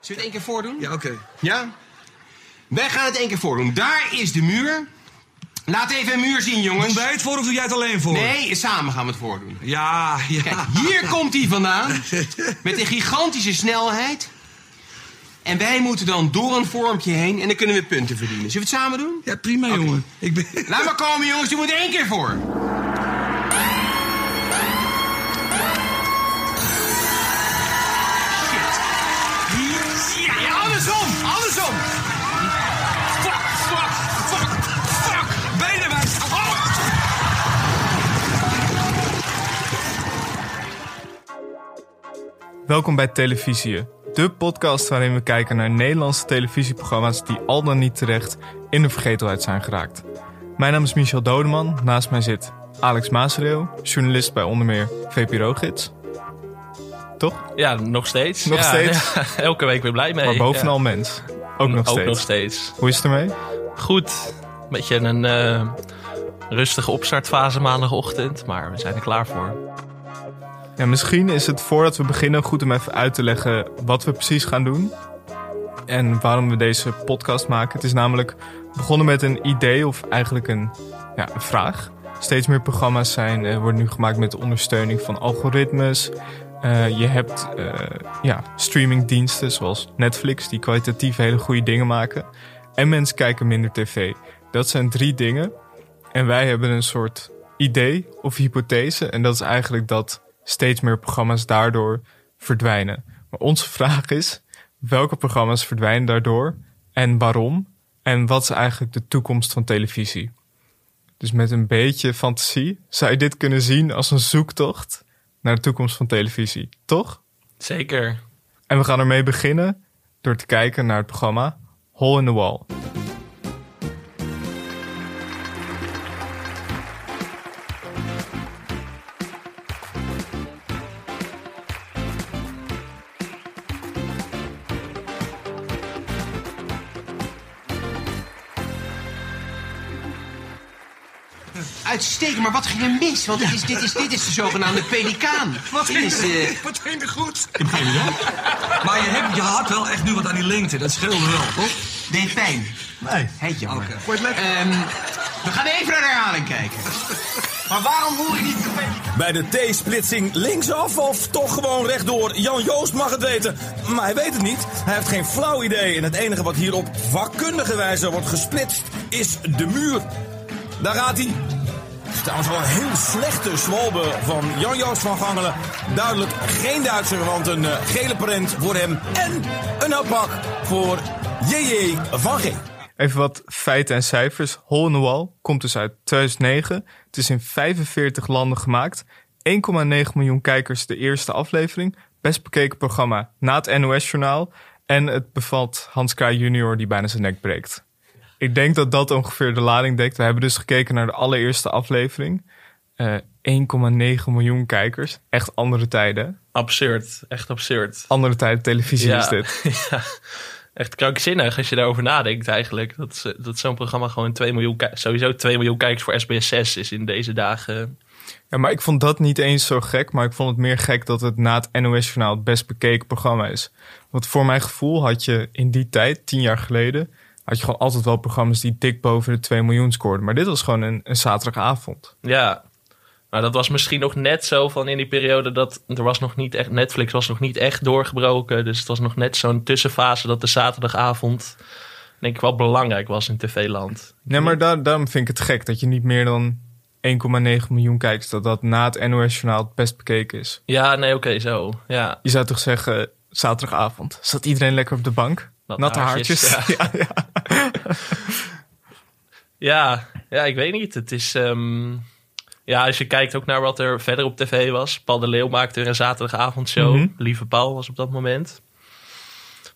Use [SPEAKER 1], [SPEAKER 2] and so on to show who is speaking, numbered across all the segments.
[SPEAKER 1] Zullen we het één keer voordoen?
[SPEAKER 2] Ja, oké.
[SPEAKER 1] Ja? Wij gaan het één keer voordoen. Daar is de muur. Laat even een muur zien, jongens.
[SPEAKER 2] Doen wij het voor of doe jij het alleen voor?
[SPEAKER 1] Nee, samen gaan we het voordoen.
[SPEAKER 2] Ja, ja.
[SPEAKER 1] Kijk, hier komt hij vandaan. Met een gigantische snelheid. En wij moeten dan door een vormpje heen en dan kunnen we punten verdienen. Zullen we het samen doen?
[SPEAKER 2] Ja, prima, jongen. Ik ben...
[SPEAKER 1] Laat maar komen, jongens. Doe het één keer voor. Shit. Hier. Ja, andersom. Andersom. Fuck, fuck, fuck, fuck. Benen wij. Oh.
[SPEAKER 3] Welkom bij Televisie, de podcast waarin we kijken naar Nederlandse televisieprogramma's die al dan niet terecht in de vergetelheid zijn geraakt. Mijn naam is Michel Dodeman, naast mij zit Alex Maasreel, journalist bij onder meer VPRO-gids. Toch?
[SPEAKER 4] Ja, nog steeds.
[SPEAKER 3] Nog
[SPEAKER 4] Ja,
[SPEAKER 3] steeds?
[SPEAKER 4] ja, elke week weer blij mee.
[SPEAKER 3] Maar bovenal
[SPEAKER 4] Ja.
[SPEAKER 3] mens. eh, Ook nog
[SPEAKER 4] Ook
[SPEAKER 3] steeds.
[SPEAKER 4] nog steeds.
[SPEAKER 3] Hoe is het ermee?
[SPEAKER 4] Goed. Een beetje een eh, rustige opstartfase maandagochtend. Maar we zijn er klaar voor.
[SPEAKER 3] Ja, misschien is het voordat we beginnen goed om even uit te leggen wat we precies gaan doen. En waarom we deze podcast maken. Het is namelijk begonnen met een idee of eigenlijk een, ja, een vraag. Steeds meer programma's zijn, eh, worden nu gemaakt met de ondersteuning van algoritmes. Eh, je hebt eh, ja, streamingdiensten zoals Netflix die kwalitatief hele goede dingen maken. En mensen kijken minder tv. Dat zijn drie dingen. En wij hebben een soort idee of hypothese. En dat is eigenlijk dat steeds meer programma's daardoor verdwijnen. Maar onze vraag is: welke programma's verdwijnen daardoor en waarom? En wat is eigenlijk de toekomst van televisie? Dus met een beetje fantasie zou je dit kunnen zien als een zoektocht naar de toekomst van televisie, toch?
[SPEAKER 4] Zeker.
[SPEAKER 3] En we gaan ermee beginnen door te kijken naar het programma Hole in the Wall.
[SPEAKER 1] Uitstekend, maar wat ging er mis? Want dit is, dit is, dit is de zogenaamde pelikaan. Wat is eh,
[SPEAKER 2] Wat ging er goed? Ik begin Maar je, hebt, je had wel echt nu wat aan die lengte. Dat scheelde wel, toch?
[SPEAKER 1] Deed pijn.
[SPEAKER 2] Nee.
[SPEAKER 1] Heet jammer.
[SPEAKER 2] Oké. Vond je het lekker?
[SPEAKER 1] Ehm, we gaan even naar de herhaling kijken. Maar waarom hoor je niet de pelikaan?
[SPEAKER 5] Bij de T-splitsing linksaf of toch gewoon rechtdoor? Jan Joost mag het weten, maar hij weet het niet. Hij heeft geen flauw idee en het enige wat hier op vakkundige wijze wordt gesplitst is de muur. Daar gaat hij. Trouwens wel een heel slechte zwalbe van Jan Joost van Gangelen. Duidelijk geen Duitser, want een eh, gele parent voor hem en een hapbak voor JJ van G.
[SPEAKER 3] Even wat feiten en cijfers. Hole in the Wall komt dus uit 2009. Het is in 45 landen gemaakt. 1,9 miljoen kijkers de eerste aflevering. Best bekeken programma na het NOS-journaal. En het bevat Hans Kraaij junior die bijna zijn nek breekt. Ik denk dat dat ongeveer de lading dekt. We hebben dus gekeken naar de allereerste aflevering. Eh, 1,9 miljoen kijkers. Echt andere tijden.
[SPEAKER 4] Absurd. Echt absurd.
[SPEAKER 3] Andere tijden televisie is dit.
[SPEAKER 4] ja. Echt krankzinnig als je daarover nadenkt eigenlijk. Dat, ze- dat zo'n programma gewoon 2 miljoen... ki- Sowieso 2 miljoen kijkers voor SBS6 is in deze dagen...
[SPEAKER 3] Ja, maar ik vond dat niet eens zo gek. Maar ik vond het meer gek dat het na het NOS-journaal het best bekeken programma is. Want voor mijn gevoel had je in die tijd, tien jaar geleden... had je gewoon altijd wel programma's die dik boven de 2 miljoen scoorden. Maar dit was gewoon een, een zaterdagavond.
[SPEAKER 4] Ja. Maar dat was misschien nog net zo van in die periode dat er was nog niet echt Netflix was nog niet echt doorgebroken, dus het was nog net zo'n tussenfase dat de zaterdagavond denk ik wel belangrijk was in tv-land.
[SPEAKER 3] Nee, maar daar, daarom vind ik het gek dat je niet meer dan 1,9 miljoen kijkt... dat dat na het NOS-journaal het best bekeken is.
[SPEAKER 4] Ja, nee, oké, zo. Ja.
[SPEAKER 3] Je zou toch zeggen, zaterdagavond. Zat iedereen lekker op de bank?
[SPEAKER 4] Natte
[SPEAKER 3] Natte haartjes.
[SPEAKER 4] haartjes,
[SPEAKER 3] Ja, ja.
[SPEAKER 4] Ja, ja, ik weet niet. Het is ehm, ja, als je kijkt ook naar wat er verder op tv was. Paul de Leeuw maakte er een zaterdagavondshow.
[SPEAKER 3] Mhm.
[SPEAKER 4] Lieve Paul was op dat moment.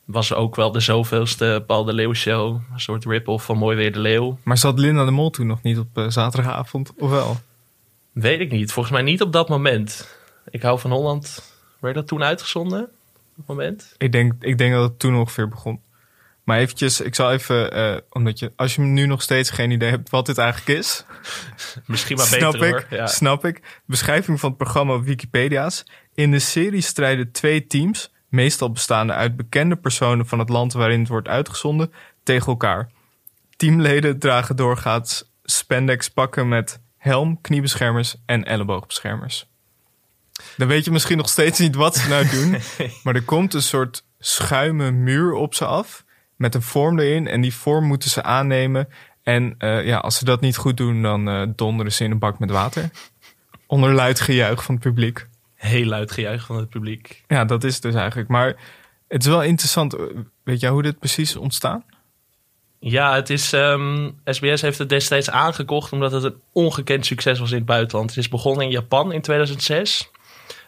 [SPEAKER 4] Was ook wel de zoveelste Paul de Leeuw show. Een soort rip-off van Mooi Weer de Leeuw.
[SPEAKER 3] Maar zat Linda de Mol toen nog niet op eh, zaterdagavond? Of wel?
[SPEAKER 4] Weet ik niet. Volgens mij niet op dat moment. Ik hou van Holland. Werd dat toen uitgezonden? Op dat moment?
[SPEAKER 3] Ik denk, ik denk dat het toen ongeveer begon. Maar eventjes, ik zal even, eh, omdat je, als je nu nog steeds geen idee hebt wat dit eigenlijk is,
[SPEAKER 4] Misschien maar
[SPEAKER 3] snap
[SPEAKER 4] beter
[SPEAKER 3] ik,
[SPEAKER 4] hoor. Ja.
[SPEAKER 3] snap ik. Beschrijving van het programma op Wikipedia's. In de serie strijden twee teams meestal bestaande uit bekende personen van het land waarin het wordt uitgezonden, tegen elkaar. Teamleden dragen doorgaans spandex pakken met helm, kniebeschermers en elleboogbeschermers. Dan weet je misschien nog steeds niet wat ze nou doen, maar er komt een soort schuime muur op ze af met een vorm erin en die vorm moeten ze aannemen. En eh, ja, als ze dat niet goed doen, dan eh, donderen ze in een bak met water. Onder luid gejuich van het publiek.
[SPEAKER 4] Heel luid gejuich van het publiek.
[SPEAKER 3] Ja, dat is het dus eigenlijk. Maar het is wel interessant. eh, Weet jij hoe dit precies ontstaan?
[SPEAKER 4] Ja, het is, ehm, SBS heeft het destijds aangekocht omdat het een ongekend succes was in het buitenland. Het is begonnen in Japan in 2006.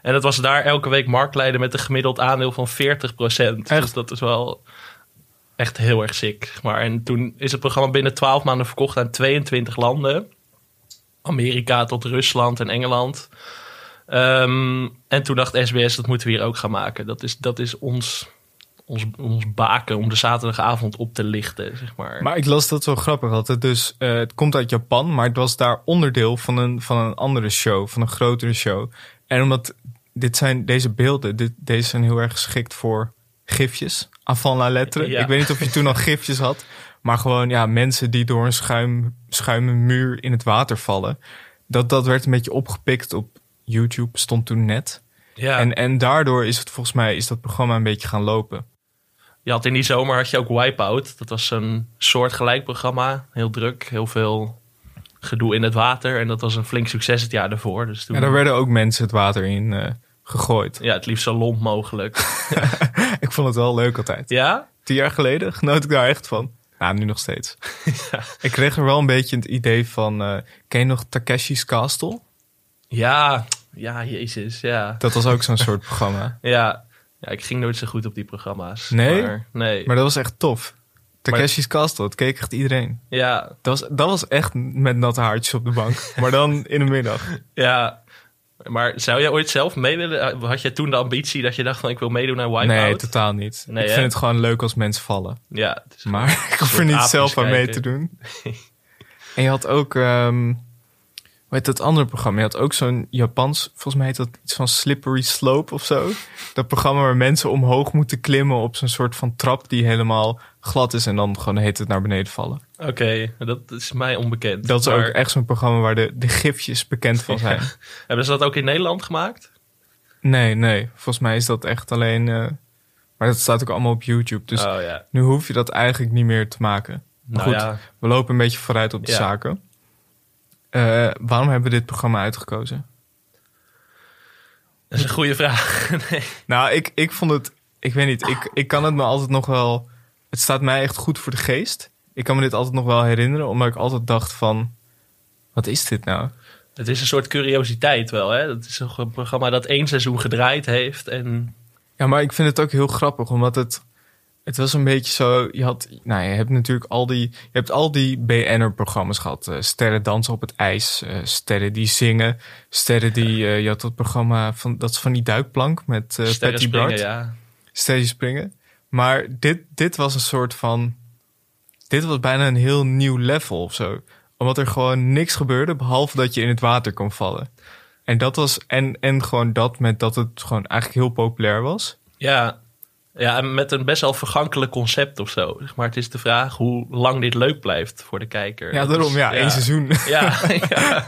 [SPEAKER 4] En het was daar elke week marktleider met een gemiddeld aandeel van 40%. Dus
[SPEAKER 3] Echt?
[SPEAKER 4] dat is wel echt heel erg sick. zeg Maar, en toen is het programma binnen 12 maanden verkocht aan 22 landen. Amerika tot Rusland en Engeland. Ehm, en toen dacht SBS, dat moeten we hier ook gaan maken. Dat is, dat is ons, ons, ons baken om de zaterdagavond op te lichten, zeg maar.
[SPEAKER 3] Maar ik las dat zo grappig. Dat het dus, eh, het komt uit Japan, maar het was daar onderdeel van een, van een andere show, van een grotere show. En omdat dit zijn, deze beelden, dit, deze zijn heel erg geschikt voor gifjes. Avant la lettre.
[SPEAKER 4] Ja.
[SPEAKER 3] Ik weet niet of je toen al gifjes had. Maar gewoon, ja, mensen die door een schuim, schuime muur in het water vallen. Dat, dat werd een beetje opgepikt op YouTube, stond toen net.
[SPEAKER 4] ja.
[SPEAKER 3] En, en daardoor is het volgens mij is dat programma een beetje gaan lopen.
[SPEAKER 4] Je had in die zomer had je ook Wipeout. Dat was een soortgelijk programma. Heel druk, heel veel gedoe in het water. En dat was een flink succes het jaar daarvoor. Dus toen,
[SPEAKER 3] En daar werden ook mensen het water in eh, gegooid.
[SPEAKER 4] ja, het liefst zo lomp mogelijk.
[SPEAKER 3] Ik vond het wel leuk altijd.
[SPEAKER 4] ja?
[SPEAKER 3] Tien jaar geleden genoot ik daar echt van. Nou, nu nog steeds. Ik kreeg er wel een beetje het idee van... eh, ken je nog Takeshi's Castle?
[SPEAKER 4] Ja, ja, jezus, ja.
[SPEAKER 3] Dat was ook zo'n soort programma.
[SPEAKER 4] ja. Ja, ik ging nooit zo goed op die programma's.
[SPEAKER 3] Nee?
[SPEAKER 4] Maar, nee.
[SPEAKER 3] Maar dat was echt tof. Takeshi's Castle, dat keek echt iedereen.
[SPEAKER 4] ja,
[SPEAKER 3] Dat was, dat was echt met natte haartjes op de bank. Maar dan in de middag.
[SPEAKER 4] ja. Maar zou jij ooit zelf mee willen? eh, Had jij toen de ambitie dat je dacht van ik wil meedoen aan Wipeout?
[SPEAKER 3] Nee, totaal niet.
[SPEAKER 4] Nee,
[SPEAKER 3] ik
[SPEAKER 4] hè?
[SPEAKER 3] vind het gewoon leuk als mensen vallen.
[SPEAKER 4] Ja, dus- het is-
[SPEAKER 3] Maar ik hoef er
[SPEAKER 4] soort
[SPEAKER 3] niet
[SPEAKER 4] aapjes
[SPEAKER 3] zelf aan mee te
[SPEAKER 4] kijken.
[SPEAKER 3] doen. En je had ook... ehm hoe heet dat andere programma? Je had ook zo'n Japans... Volgens mij heet dat iets van Slippery Slope of zo. Dat programma waar mensen omhoog moeten klimmen... op zo'n soort van trap die helemaal glad is... en dan gewoon heet het naar beneden vallen.
[SPEAKER 4] Oké, dat is mij onbekend.
[SPEAKER 3] Dat is
[SPEAKER 4] Maar
[SPEAKER 3] ook echt zo'n programma waar de, de gifjes bekend van zijn.
[SPEAKER 4] Hebben ze dat ook in Nederland gemaakt?
[SPEAKER 3] Nee, nee. Volgens mij is dat echt alleen... eh, maar dat staat ook allemaal op YouTube. Dus
[SPEAKER 4] oh ja.
[SPEAKER 3] nu hoef je dat eigenlijk niet meer te maken. Maar
[SPEAKER 4] Nou
[SPEAKER 3] goed,
[SPEAKER 4] ja.
[SPEAKER 3] we lopen een beetje vooruit op de
[SPEAKER 4] Ja.
[SPEAKER 3] zaken. Eh, waarom hebben we dit programma uitgekozen?
[SPEAKER 4] Dat is een goede vraag. Nee.
[SPEAKER 3] Nou, ik, ik vond het... Ik weet niet, ik, ik kan het me altijd nog wel... Het staat mij echt goed voor de geest. Ik kan me dit altijd nog wel herinneren, omdat ik altijd dacht van... Wat is dit nou?
[SPEAKER 4] Het is een soort curiositeit wel. Hè? Dat is een programma dat één seizoen gedraaid heeft. En
[SPEAKER 3] Ja, maar ik vind het ook heel grappig, omdat het... Het was een beetje zo, je had, nou, je hebt natuurlijk al die, je hebt al die BN'er-programma's gehad. Eh, sterren dansen op het ijs, eh, sterren die zingen, sterren die, eh, je had dat programma van, dat is van die duikplank met eh
[SPEAKER 4] sterren
[SPEAKER 3] Patty
[SPEAKER 4] springen,
[SPEAKER 3] Bart.
[SPEAKER 4] ja.
[SPEAKER 3] Sterren springen. Maar dit, dit was een soort van, dit was bijna een heel nieuw level of zo. Omdat er gewoon niks gebeurde, behalve dat je in het water kon vallen. En dat was, en, en gewoon dat met dat het gewoon eigenlijk heel populair was.
[SPEAKER 4] ja. Ja, en met een best wel vergankelijk concept of zo. Zeg Maar het is de vraag hoe lang dit leuk blijft voor de kijker.
[SPEAKER 3] Ja,
[SPEAKER 4] Dat
[SPEAKER 3] daarom.
[SPEAKER 4] is-
[SPEAKER 3] Ja, één seizoen.
[SPEAKER 4] Ja, ja.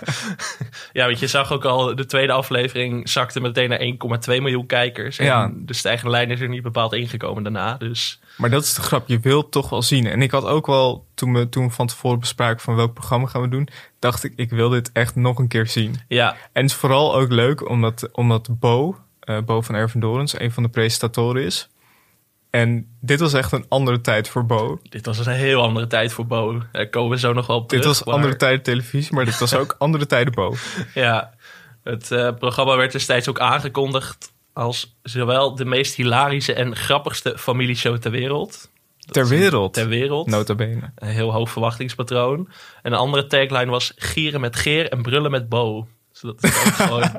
[SPEAKER 4] ja, want je zag ook al, de tweede aflevering zakte meteen naar 1,2 miljoen kijkers. En
[SPEAKER 3] Ja.
[SPEAKER 4] De stijgende lijn is er niet bepaald ingekomen daarna. Dus
[SPEAKER 3] Maar dat is de grap. Je wilt toch wel zien. En ik had ook wel, toen we, toen we van tevoren bespraken van welk programma gaan we doen, dacht ik, ik wil dit echt nog een keer zien.
[SPEAKER 4] ja,
[SPEAKER 3] En het is vooral ook leuk omdat, omdat Bo, eh, Bo van Ervendorens, een van de presentatoren is. En dit was echt een andere tijd voor Bo.
[SPEAKER 4] dit was een heel andere tijd voor Bo. Daar komen we zo nog wel op terug.
[SPEAKER 3] dit was
[SPEAKER 4] maar-
[SPEAKER 3] andere tijden televisie, maar dit was ook andere tijden Bo.
[SPEAKER 4] Ja, het eh, programma werd destijds ook aangekondigd als zowel de meest hilarische en grappigste familieshow ter wereld.
[SPEAKER 3] Ter wereld.
[SPEAKER 4] Ter wereld.
[SPEAKER 3] Nota bene.
[SPEAKER 4] Een heel hoog verwachtingspatroon. En een andere tagline was gieren met geer en brullen met bo. Dus dat is ook gewoon...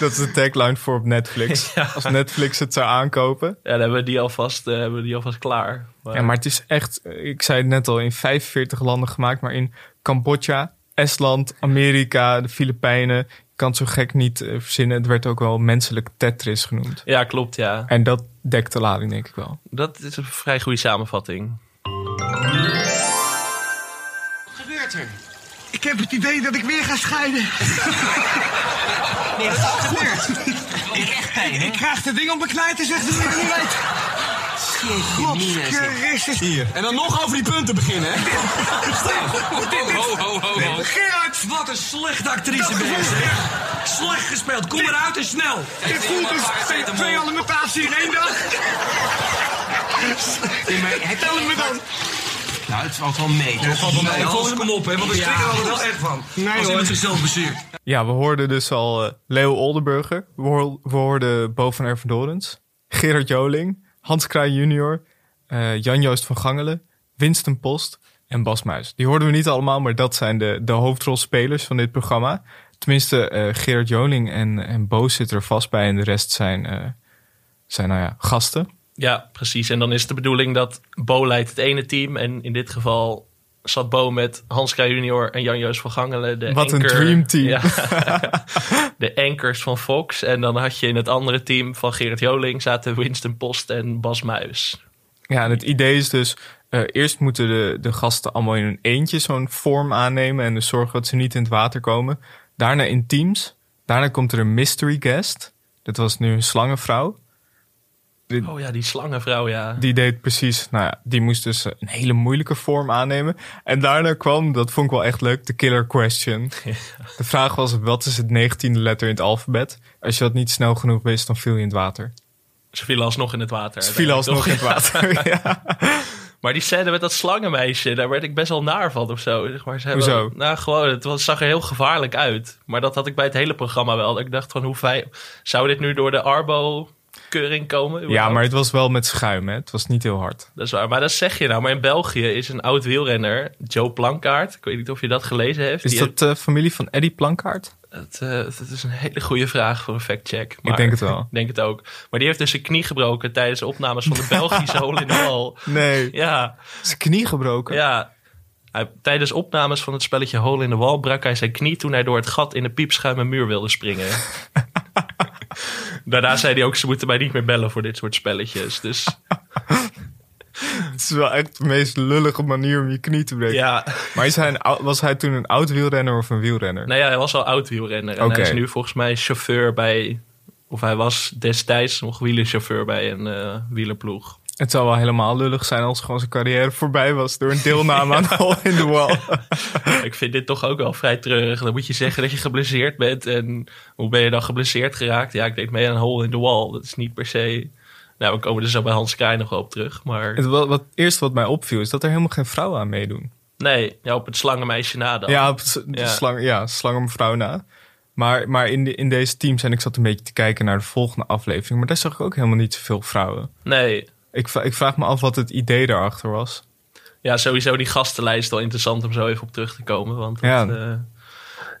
[SPEAKER 3] Dat is de tagline voor op Netflix. Als Netflix het zou aankopen,
[SPEAKER 4] Ja, dan hebben we die alvast, eh, hebben we die alvast klaar. Maar,
[SPEAKER 3] Ja, maar het is echt, eh, ik zei het net al, in 45 landen gemaakt, maar in Cambodja, Estland, Amerika, de Filipijnen, kan het zo gek niet eh, verzinnen. Het werd ook wel menselijk Tetris genoemd.
[SPEAKER 4] Ja, klopt, ja.
[SPEAKER 3] En dat dekt de lading, denk ik wel.
[SPEAKER 4] Dat is een vrij goede samenvatting.
[SPEAKER 1] Wat gebeurt er?
[SPEAKER 6] Ik heb het idee dat ik weer ga scheiden.
[SPEAKER 1] Nee, wat is er gebeurd?
[SPEAKER 6] Ik krijg de ding om mijn knijt te zeggen dat ik het niet weet.
[SPEAKER 1] Jeetje, mina, zeg.
[SPEAKER 6] Christus.
[SPEAKER 2] En dan nog over die punten beginnen, hè?
[SPEAKER 1] Ho, ho, ho, ho.
[SPEAKER 6] Gerard,
[SPEAKER 2] Wat een slechte actrice ben je, zeg. Slecht gespeeld. Kom eruit en snel.
[SPEAKER 6] dit voelt als twee- twee alimentatie in één dag.
[SPEAKER 1] Nee, maar hij
[SPEAKER 6] Tel hem me dan.
[SPEAKER 1] eh, Nou, het valt wel mee.
[SPEAKER 2] Nee, Hans, kom op, hè, want we schrikken er wel echt van. Als iemand zichzelf bezeert.
[SPEAKER 3] Ja, we hoorden dus al eh, Leo Oldenburger. We, hoor- we hoorden Bo van Ervendorens. Gerard Joling. Hans Kraai junior. eh, Jan-Joost van Gangelen. Winston Post. En Bas Muis. Die hoorden we niet allemaal, maar dat zijn de, de hoofdrolspelers van dit programma. Tenminste, eh, Gerard Joling en, en Bo zitten er vast bij. En de rest zijn, eh, zijn nou ja, gasten.
[SPEAKER 4] Ja, precies. En dan is het de bedoeling dat Bo leidt het ene team. En in dit geval zat Bo met Hans Krij junior en Jan-Joos van Gangelen. De
[SPEAKER 3] Wat een
[SPEAKER 4] anchor-
[SPEAKER 3] dream team.
[SPEAKER 4] Ja. de anchors van Fox. En dan had je in het andere team van Gerrit Joling zaten Winston Post en Bas Muis.
[SPEAKER 3] Ja, en het idee is dus... eh, eerst moeten de, de gasten allemaal in hun eentje zo'n vorm aannemen... en dus zorgen dat ze niet in het water komen. Daarna in teams. Daarna komt er een mystery guest. Dat was nu een slangenvrouw.
[SPEAKER 4] Oh ja, die slangenvrouw, ja.
[SPEAKER 3] Die deed precies... Nou ja, die moest dus een hele moeilijke vorm aannemen. En daarna kwam, dat vond ik wel echt leuk, de killer question. De vraag was, wat is het negentiende letter in het alfabet? Als je dat niet snel genoeg wist, dan viel je in het water.
[SPEAKER 4] Ze vielen alsnog in het water.
[SPEAKER 3] Ze viel alsnog in het water, ja.
[SPEAKER 4] Maar die scène met dat slangenmeisje, daar werd ik best wel naar van of zo. Zeg maar, ze hebben-
[SPEAKER 3] Hoezo?
[SPEAKER 4] nou, gewoon, het was- zag er heel gevaarlijk uit. Maar dat had ik bij het hele programma wel. Dat Ik dacht van, hoe fijn... Zou dit nu door de Arbo-keuring komen?
[SPEAKER 3] Ja, maar het was wel met schuim, hè. Het was niet heel hard.
[SPEAKER 4] Dat is waar, maar dat zeg je nou. Maar in België is een oud wielrenner, Joe Plankaart... Ik weet niet of je dat gelezen heeft.
[SPEAKER 3] Is
[SPEAKER 4] Die
[SPEAKER 3] dat eh, familie van Eddie Plankaart?
[SPEAKER 4] Het, eh, dat is een hele goede vraag voor een factcheck. maar-
[SPEAKER 3] denk het wel.
[SPEAKER 4] Ik denk het ook. Maar die heeft dus zijn knie gebroken tijdens de opnames van de Belgische Hole in de Wal.
[SPEAKER 3] Nee.
[SPEAKER 4] Ja,
[SPEAKER 3] Zijn knie gebroken.
[SPEAKER 4] ja. Hij, tijdens opnames van het spelletje Hole in de Wal brak hij zijn knie toen hij door het gat in de piepschuime muur wilde springen. Daarna zei hij ook, ze moeten mij niet meer bellen voor dit soort spelletjes. Dus
[SPEAKER 3] Het is wel echt de meest lullige manier om je knie te breken.
[SPEAKER 4] ja,
[SPEAKER 3] Maar is hij een ou- was hij toen een oud wielrenner of een wielrenner?
[SPEAKER 4] nou ja, hij was al oud wielrenner. En
[SPEAKER 3] Oké.
[SPEAKER 4] hij is nu volgens mij chauffeur bij, of hij was destijds nog wielerchauffeur bij een eh, wielerploeg.
[SPEAKER 3] Het zou wel helemaal lullig zijn als gewoon zijn carrière voorbij was door een deelname aan All in the Wall.
[SPEAKER 4] Ik vind dit toch ook wel vrij treurig. Dan moet je zeggen dat je geblesseerd bent. En hoe ben je dan geblesseerd geraakt? Ja, ik deed mee aan een hole in the wall. Dat is niet per se... Nou, we komen er zo bij Hans Kraaij nog wel op terug. Maar
[SPEAKER 3] Het wat, wat eerste wat mij opviel is dat er helemaal geen vrouwen aan meedoen.
[SPEAKER 4] nee, ja, op het slangenmeisje na dan.
[SPEAKER 3] Ja, op s- de
[SPEAKER 4] Oh. Ja.
[SPEAKER 3] Slang, ja, slangenmevrouw na. Maar, maar in, de, in deze teams, en ik zat een beetje te kijken naar de volgende aflevering, maar daar zag ik ook helemaal niet zoveel vrouwen.
[SPEAKER 4] Nee.
[SPEAKER 3] Ik, va- ik vraag me af wat het idee daarachter was.
[SPEAKER 4] Ja, sowieso die gastenlijst wel interessant om zo even op terug te komen. Want dat
[SPEAKER 3] Ja.
[SPEAKER 4] eh,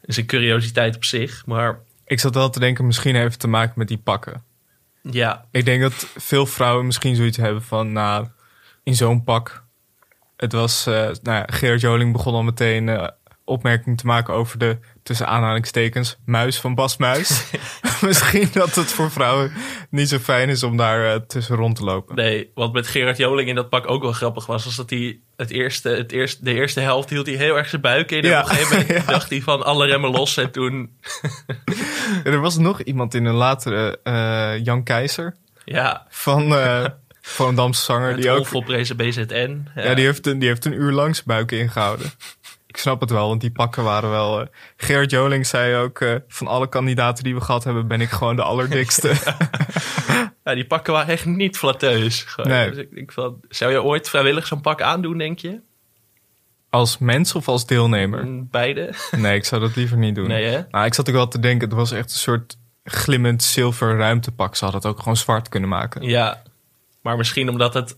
[SPEAKER 4] is een curiositeit op zich. Maar
[SPEAKER 3] Ik zat wel te denken, misschien heeft het te maken met die pakken.
[SPEAKER 4] ja,
[SPEAKER 3] Ik denk dat veel vrouwen misschien zoiets hebben van, nou, in zo'n pak. Het was, eh, nou ja, Gerard Joling begon al meteen eh opmerking te maken over de, tussen aanhalingstekens, muis van Bas Muis. misschien dat het voor vrouwen niet zo fijn is om daar eh, tussen rond te lopen.
[SPEAKER 4] nee. Wat met Gerard Joling in dat pak ook wel grappig was... was dat hij het eerste, het eerste, de eerste helft hield hij heel erg zijn buik in. En
[SPEAKER 3] Ja.
[SPEAKER 4] op een gegeven moment
[SPEAKER 3] Ja.
[SPEAKER 4] dacht hij van alle remmen los. En toen,
[SPEAKER 3] En er was nog iemand in een latere, eh, Jan Keizer,
[SPEAKER 4] ja,
[SPEAKER 3] van, eh van Damse zanger,
[SPEAKER 4] Het
[SPEAKER 3] die ook
[SPEAKER 4] onvolprezen BZN. Ja.
[SPEAKER 3] Ja, die, heeft een, die heeft een uur lang zijn buik ingehouden. Ik snap het wel, want die pakken waren wel... eh, Gerard Joling zei ook, eh, van alle kandidaten die we gehad hebben... ben ik gewoon de allerdikste.
[SPEAKER 4] Ja, die pakken waren echt niet flatteus. Gewoon.
[SPEAKER 3] Nee.
[SPEAKER 4] Dus ik denk van, zou je ooit vrijwillig zo'n pak aandoen, denk je?
[SPEAKER 3] Als mens of als deelnemer?
[SPEAKER 4] Mm, Beide?
[SPEAKER 3] Nee, ik zou dat liever niet doen.
[SPEAKER 4] Nee, hè?
[SPEAKER 3] Nou, ik zat ook wel te denken, het was echt een soort glimmend zilver ruimtepak. Ze hadden het ook gewoon zwart kunnen maken.
[SPEAKER 4] Ja. Maar misschien omdat het...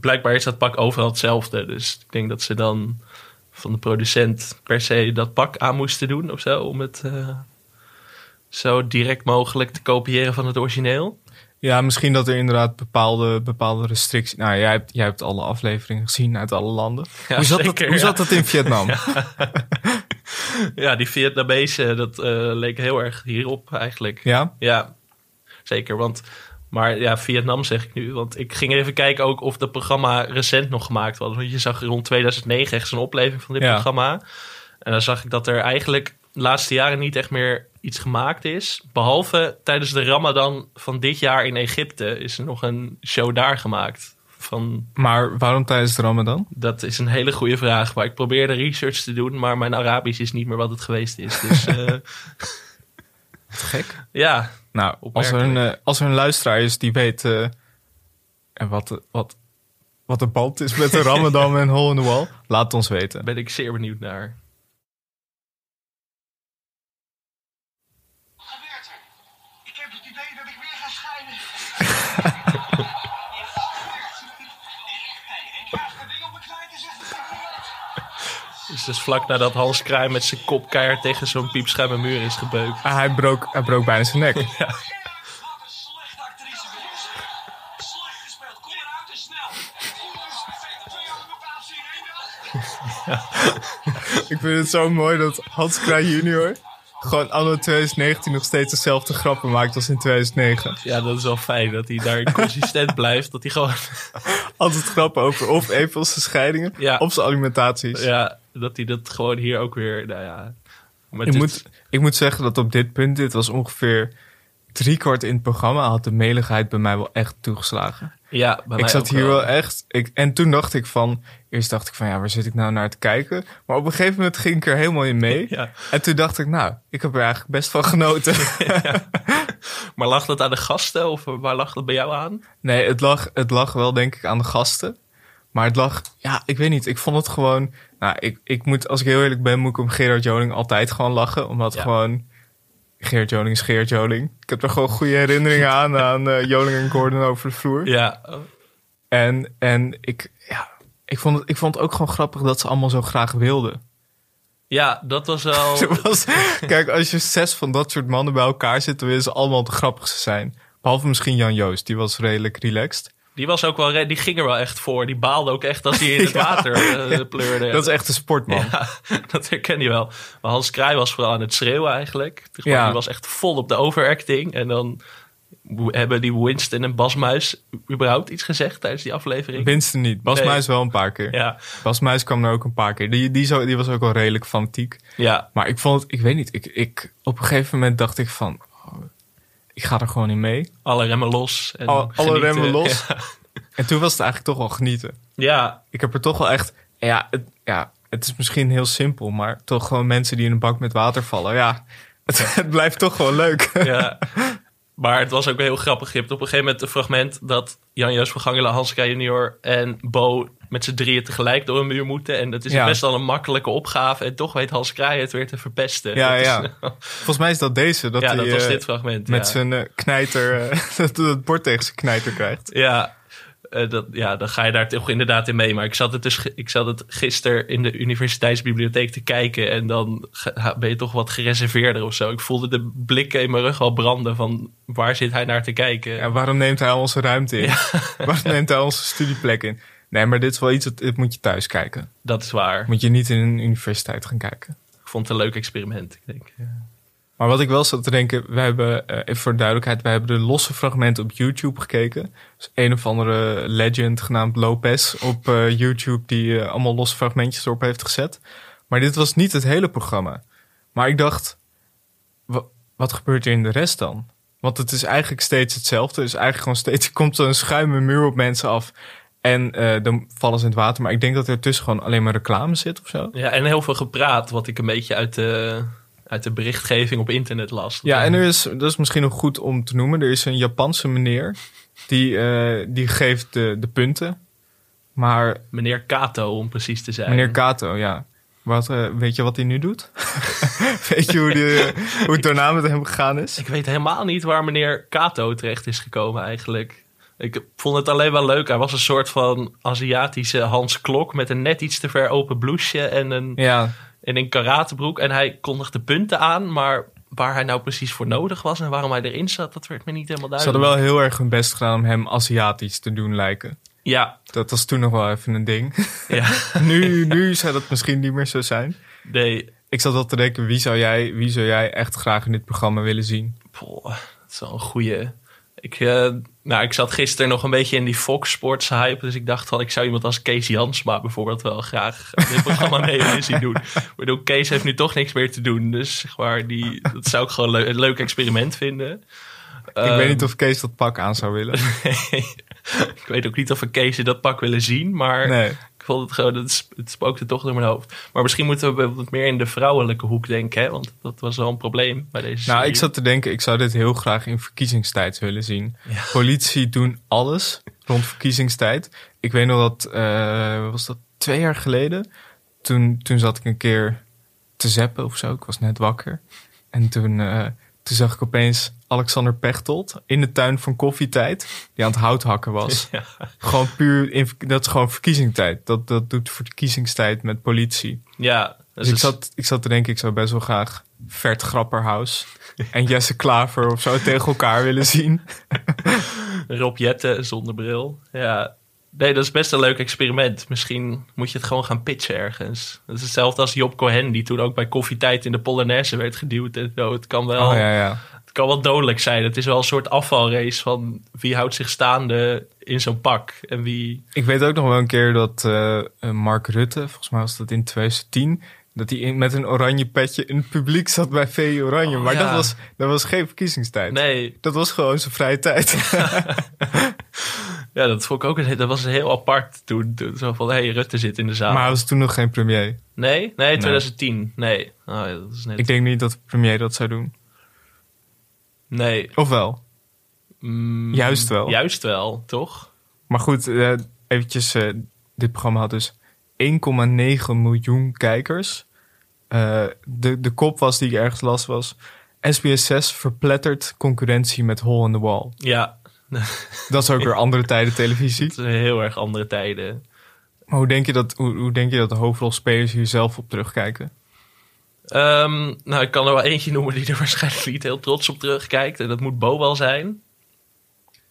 [SPEAKER 4] Blijkbaar is dat pak overal hetzelfde. Dus ik denk dat ze dan van de producent per se dat pak aan moesten doen of zo. Om het eh, zo direct mogelijk te kopiëren van het origineel.
[SPEAKER 3] Ja, misschien dat er inderdaad bepaalde, bepaalde restricties... Nou, jij hebt, jij hebt alle afleveringen gezien uit alle landen.
[SPEAKER 4] Ja,
[SPEAKER 3] hoe, zat dat,
[SPEAKER 4] zeker,
[SPEAKER 3] hoe
[SPEAKER 4] ja.
[SPEAKER 3] zat dat in Vietnam?
[SPEAKER 4] Ja, die Vietnamese, dat eh, leek heel erg hierop eigenlijk.
[SPEAKER 3] Ja?
[SPEAKER 4] Ja, zeker. Want, maar ja, Vietnam zeg ik nu. Want ik ging even kijken ook of dat programma recent nog gemaakt was. Want je zag rond 2009 echt zo'n opleving van dit
[SPEAKER 3] Ja.
[SPEAKER 4] programma. En dan zag ik dat er eigenlijk de laatste jaren niet echt meer iets gemaakt is. Behalve tijdens de Ramadan van dit jaar in Egypte is er nog een show daar gemaakt. Van,
[SPEAKER 3] Maar waarom tijdens de Ramadan?
[SPEAKER 4] dat is een hele goede vraag. Maar ik probeerde research te doen, maar mijn Arabisch is niet meer wat het geweest is. Dus eh,
[SPEAKER 3] Wat gek.
[SPEAKER 4] ja,
[SPEAKER 3] Nou, als er, een, eh, als er een luisteraar is die weet eh, en wat, eh, wat, wat de band is met de Ramadan en Hole in the Wall, laat het ons weten.
[SPEAKER 4] ben ik zeer benieuwd naar.
[SPEAKER 6] Wat gebeurt er? Ik heb het idee dat ik weer ga scheiden. Wat gebeurt er? Ik krijg de ding op mijn kleintjes echt
[SPEAKER 4] Dus dat is vlak nadat Hans Kraai met zijn kop keihard tegen zo'n piepschuime muur is gebeukt.
[SPEAKER 3] Ah, hij, brook, hij brook bijna zijn nek.
[SPEAKER 6] Wat een slechte actrice weer is. Slecht gespeeld. Kom eruit en snel. Oers, twee handen met paas hier. Eén wel.
[SPEAKER 3] Ik vind het zo mooi dat Hans Kraai junior gewoon anno 2019 nog steeds dezelfde grappen maakt als in 2009.
[SPEAKER 4] Ja, dat is wel fijn dat hij daar consistent blijft. Dat hij gewoon,
[SPEAKER 3] Altijd grappen over of een van zijn scheidingen
[SPEAKER 4] Ja.
[SPEAKER 3] of zijn alimentaties.
[SPEAKER 4] ja, dat hij dat gewoon hier ook weer, nou ja. Met
[SPEAKER 3] Ik,
[SPEAKER 4] dit-
[SPEAKER 3] moet, ik moet zeggen dat op dit punt, dit was ongeveer driekwart in het programma, had de meligheid bij mij wel echt toegeslagen.
[SPEAKER 4] ja, bij mij
[SPEAKER 3] ik zat
[SPEAKER 4] ook
[SPEAKER 3] hier wel echt. Ik, en toen dacht ik van. Eerst dacht ik van ja, waar zit ik nou naar te kijken? Maar op een gegeven moment ging ik er helemaal in mee.
[SPEAKER 4] Ja.
[SPEAKER 3] En toen dacht ik, nou, ik heb er eigenlijk best van genoten.
[SPEAKER 4] Maar lag dat aan de gasten of waar lag dat bij jou aan?
[SPEAKER 3] nee, het lag, het lag wel denk ik aan de gasten. Maar het lag, ja, ik weet niet. Ik vond het gewoon. Nou, ik, ik moet, als ik heel eerlijk ben, moet ik om Gerard Joling altijd gewoon lachen. Omdat
[SPEAKER 4] Ja.
[SPEAKER 3] gewoon. Gerard Joling is Gerard Joling. Ik heb er gewoon goede herinneringen aan, aan eh, Joling en Gordon over de vloer.
[SPEAKER 4] Ja,
[SPEAKER 3] En, en ik, ja, ik, vond het, ik vond het ook gewoon grappig dat ze allemaal zo graag wilden.
[SPEAKER 4] Oh. ja dat was wel...
[SPEAKER 3] Er was- kijk, als je zes van dat soort mannen bij elkaar zit, dan willen ze allemaal de grappigste zijn. Behalve misschien Jan Joost, die was redelijk relaxed.
[SPEAKER 4] Die was ook wel, re- die ging er wel echt voor. Die baalde ook echt als hij in het water eh, pleurde.
[SPEAKER 3] Dat is echt een sportman.
[SPEAKER 4] Ja, dat herken je wel. Maar Hans Kraai was vooral aan het schreeuwen eigenlijk.
[SPEAKER 3] Ja.
[SPEAKER 4] Ja. Die was echt vol op de overacting. En dan hebben die Winston en Bas Muis überhaupt iets gezegd tijdens die aflevering.
[SPEAKER 3] Winston niet. Bas
[SPEAKER 4] Nee.
[SPEAKER 3] Muis wel een paar keer.
[SPEAKER 4] ja,
[SPEAKER 3] Bas Muis kwam er ook een paar keer. Die, die, zo, die was ook wel redelijk fanatiek.
[SPEAKER 4] ja,
[SPEAKER 3] Maar ik vond het, ik weet niet, ik, ik, op een gegeven moment dacht ik van, oh, ik ga er gewoon in mee.
[SPEAKER 4] alle remmen los. En
[SPEAKER 3] Al- alle
[SPEAKER 4] genieten.
[SPEAKER 3] remmen los.
[SPEAKER 4] Ja,
[SPEAKER 3] En toen was het eigenlijk toch wel genieten.
[SPEAKER 4] ja,
[SPEAKER 3] ik heb er toch wel echt. Ja het, ja, het is misschien heel simpel, maar toch gewoon mensen die in een bak met water vallen. Ja, het, het blijft toch wel leuk.
[SPEAKER 4] ja. Maar het was ook heel grappig. Je hebt op een gegeven moment een fragment dat Jan-Joos van Gangelen, Hans Kraai junior en Bo met z'n drieën tegelijk door een muur moeten. En dat is
[SPEAKER 3] Ja.
[SPEAKER 4] best wel een makkelijke opgave. En toch weet Hans Kraai het weer te verpesten.
[SPEAKER 3] Ja,
[SPEAKER 4] Dat is-
[SPEAKER 3] ja. Volgens mij is dat deze. Dat
[SPEAKER 4] ja,
[SPEAKER 3] hij,
[SPEAKER 4] dat was
[SPEAKER 3] eh,
[SPEAKER 4] dit fragment.
[SPEAKER 3] Met
[SPEAKER 4] ja.
[SPEAKER 3] zijn eh, knijter, eh, dat het bord tegen zijn knijter krijgt.
[SPEAKER 4] Ja, eh, dat, ja, dan ga je daar toch inderdaad in mee. Maar ik zat het, dus, ge- ik zat het gisteren in de universiteitsbibliotheek te kijken. En dan ge- ha- ben je toch wat gereserveerder of zo. Ik voelde de blikken in mijn rug al branden van waar zit hij naar te kijken.
[SPEAKER 3] Ja, waarom neemt hij al onze ruimte in? Waarom neemt hij al onze studieplek in? Nee, maar dit is wel iets, dat dit moet je thuis kijken.
[SPEAKER 4] Dat is waar.
[SPEAKER 3] Moet je niet in een universiteit gaan kijken.
[SPEAKER 4] Ik vond het een leuk experiment. Ik denk.
[SPEAKER 3] Maar wat ik wel zat te denken, we hebben, eh, even voor de duidelijkheid, we hebben de losse fragmenten op YouTube gekeken. Dus een of andere legend genaamd Lopez op eh, YouTube die eh, allemaal losse fragmentjes erop heeft gezet. Maar dit was niet het hele programma. Maar ik dacht, wa- wat gebeurt er in de rest dan? Want het is eigenlijk steeds hetzelfde. Dus eigenlijk gewoon steeds er komt zo'n schuime muur op mensen af. En eh, dan vallen ze in het water. Maar ik denk dat er tussen gewoon alleen maar reclame zit of zo.
[SPEAKER 4] Ja, en heel veel gepraat, wat ik een beetje uit de, uit de berichtgeving op internet las.
[SPEAKER 3] Ja, en er is, dat is misschien nog goed om te noemen. Er is een Japanse meneer die, eh, die geeft de, de punten. Maar
[SPEAKER 4] Meneer Kato, om precies te zijn.
[SPEAKER 3] meneer Kato, ja. Wat, eh, weet je wat hij nu doet? weet je hoe, die, eh, hoe het daarna met hem gegaan is?
[SPEAKER 4] Ik weet helemaal niet waar meneer Kato terecht is gekomen eigenlijk. Ik vond het alleen wel leuk. Hij was een soort van Aziatische Hans Klok met een net iets te ver open blouseje en een,
[SPEAKER 3] Ja,
[SPEAKER 4] en een karatebroek. En hij kondigde punten aan, maar waar hij nou precies voor nodig was en waarom hij erin zat, dat werd me niet helemaal
[SPEAKER 3] ze
[SPEAKER 4] duidelijk.
[SPEAKER 3] hadden wel heel erg hun best gedaan om hem Aziatisch te doen lijken.
[SPEAKER 4] Ja,
[SPEAKER 3] Dat was toen nog wel even een ding.
[SPEAKER 4] ja.
[SPEAKER 3] nu, nu zou dat misschien niet meer zo zijn.
[SPEAKER 4] Nee,
[SPEAKER 3] Ik zat wel te denken, wie zou, jij, wie zou jij echt graag in dit programma willen zien?
[SPEAKER 4] Poh, dat is wel een goeie. Ik, eh, nou, ik zat gisteren nog een beetje in die Fox Sports hype. Dus ik dacht van, ik zou iemand als Kees Jansma bijvoorbeeld wel graag aan dit programma mee willen zien doen. Ik bedoel, Kees heeft nu toch niks meer te doen. Dus zeg maar, die, dat zou ik gewoon leu- een leuk experiment vinden.
[SPEAKER 3] ik weet niet of Kees dat pak aan zou willen.
[SPEAKER 4] ik weet ook niet of we Kees in dat pak willen zien. Maar
[SPEAKER 3] Nee.
[SPEAKER 4] ik vond het gewoon, het, sp- het spookte toch door mijn hoofd. Maar misschien moeten we bijvoorbeeld meer in de vrouwelijke hoek denken. Hè? Want dat was wel een probleem bij deze
[SPEAKER 3] Nou,
[SPEAKER 4] serie.
[SPEAKER 3] ik zat te denken, ik zou dit heel graag in verkiezingstijd willen zien. Politie doen alles rond verkiezingstijd. Ik weet nog dat, eh, was dat twee jaar geleden? Toen, toen zat ik een keer te zeppen of zo, ik was net wakker. En toen, eh, toen zag ik opeens Alexander Pechtold in de tuin van koffietijd, die aan het hout hakken was. Gewoon puur, in, dat is gewoon verkiezingstijd. Dat, dat doet verkiezingstijd met politie.
[SPEAKER 4] Ja, dus
[SPEAKER 3] Dus ik
[SPEAKER 4] het-
[SPEAKER 3] zat, ik zat te denken, ik zou best wel graag Vert Grapperhaus en Jesse Klaver of zo tegen elkaar willen zien.
[SPEAKER 4] Rob Jetten zonder bril. Ja. Nee, dat is best een leuk experiment. Misschien moet je het gewoon gaan pitchen ergens. Dat is hetzelfde als Job Cohen, die toen ook bij koffietijd in de Polonaise werd geduwd. En zo. Het, kan wel,
[SPEAKER 3] Oh ja, ja.
[SPEAKER 4] het kan wel dodelijk zijn. Het is wel een soort afvalrace van wie houdt zich staande in zo'n pak. En wie...
[SPEAKER 3] Ik weet ook nog wel een keer dat eh, eh, Mark Rutte, volgens mij was dat in 2010, dat hij in- met een oranje petje in het publiek zat bij VE Oranje.
[SPEAKER 4] Oh,
[SPEAKER 3] maar dat,
[SPEAKER 4] ja.
[SPEAKER 3] was, dat was geen verkiezingstijd.
[SPEAKER 4] Nee,
[SPEAKER 3] Dat was gewoon zijn vrije tijd.
[SPEAKER 4] ja, dat vond ik ook een, dat was heel apart toen. toen zo van, hé, hey, Rutte zit in de zaal.
[SPEAKER 3] maar hij was toen nog geen premier.
[SPEAKER 4] Nee? Nee, 2010. Nee. Oh, ja, dat is net...
[SPEAKER 3] Ik denk niet dat de premier dat zou doen.
[SPEAKER 4] Nee.
[SPEAKER 3] Of wel?
[SPEAKER 4] Mm,
[SPEAKER 3] Juist wel.
[SPEAKER 4] Juist wel, toch?
[SPEAKER 3] Maar goed, eh, eventjes, eh, dit programma had dus 1,9 miljoen kijkers. Eh, de, de kop was die ik ergens las was... SBS6 verplettert concurrentie met Hole in the Wall.
[SPEAKER 4] Ja.
[SPEAKER 3] Dat is ook weer andere tijden televisie.
[SPEAKER 4] Het zijn heel erg andere tijden.
[SPEAKER 3] Maar hoe denk je dat, hoe, hoe denk je dat de hoofdrolspelers hier zelf op terugkijken?
[SPEAKER 4] Ehm, nou, ik kan er wel eentje noemen die er waarschijnlijk niet heel trots op terugkijkt. En dat moet Bo wel zijn.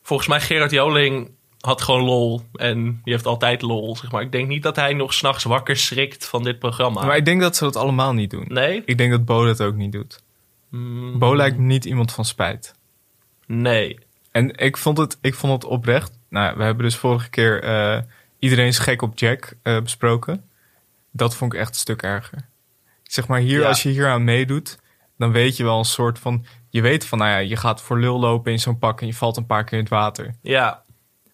[SPEAKER 4] Volgens mij Gerard Joling had gewoon lol. En die heeft altijd lol, zeg maar. Ik denk niet dat hij nog s'nachts wakker schrikt van dit programma.
[SPEAKER 3] Maar ik denk dat ze dat allemaal niet doen.
[SPEAKER 4] Ah. Nee?
[SPEAKER 3] Ik denk dat Bo dat ook niet doet.
[SPEAKER 4] Mm,
[SPEAKER 3] Bo lijkt me niet iemand van spijt.
[SPEAKER 4] nee.
[SPEAKER 3] En ik vond het, ik vond het oprecht. Nou, ja, we hebben dus vorige keer eh, Iedereen is gek op Jack eh, besproken. Dat vond ik echt een stuk erger. Zeg maar, hier,
[SPEAKER 4] Ja.
[SPEAKER 3] als je hier aan meedoet, dan weet je wel een soort van... Je weet van, nou ja, je gaat voor lul lopen in zo'n pak en je valt een paar keer in het water.
[SPEAKER 4] Ja.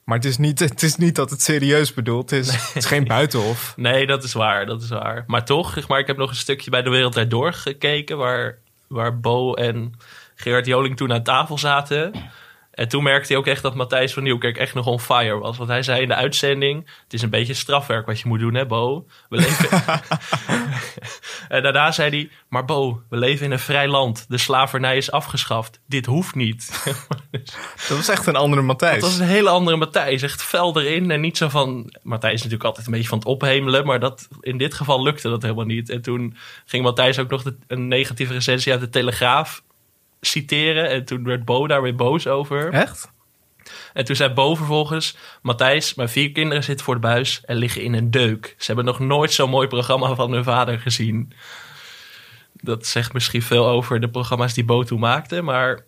[SPEAKER 3] Maar het is niet, het is niet dat het serieus bedoeld is. Het is geen buitenhof.
[SPEAKER 4] Nee, dat is waar. Dat is waar. Maar toch, zeg maar, ik heb nog een stukje bij De Wereld Draait Door gekeken... Waar, waar Bo en Gerard Joling toen aan tafel zaten. En toen merkte hij ook echt dat Matthijs van Nieuwkerk echt nog on fire was. Want hij zei in de uitzending... het is een beetje strafwerk wat je moet doen, hè Bo? We leven... en daarna zei hij... maar Bo, we leven in een vrij land. De slavernij is afgeschaft. Dit hoeft niet. Dus
[SPEAKER 3] Dat was echt een andere Matthijs.
[SPEAKER 4] Het was een hele andere Matthijs. Echt fel erin en niet zo van... Matthijs is natuurlijk altijd een beetje van het ophemelen. Maar dat, in dit geval lukte dat helemaal niet. En toen ging Matthijs ook nog de- een negatieve recensie uit de Telegraaf citeren. En toen werd Bo daar weer boos over.
[SPEAKER 3] Echt?
[SPEAKER 4] En toen zei Bo vervolgens... Matthijs, mijn vier kinderen zitten voor de buis en liggen in een deuk. Ze hebben nog nooit zo'n mooi programma van hun vader gezien. Dat zegt misschien veel over de programma's die Bo toen maakte. Maar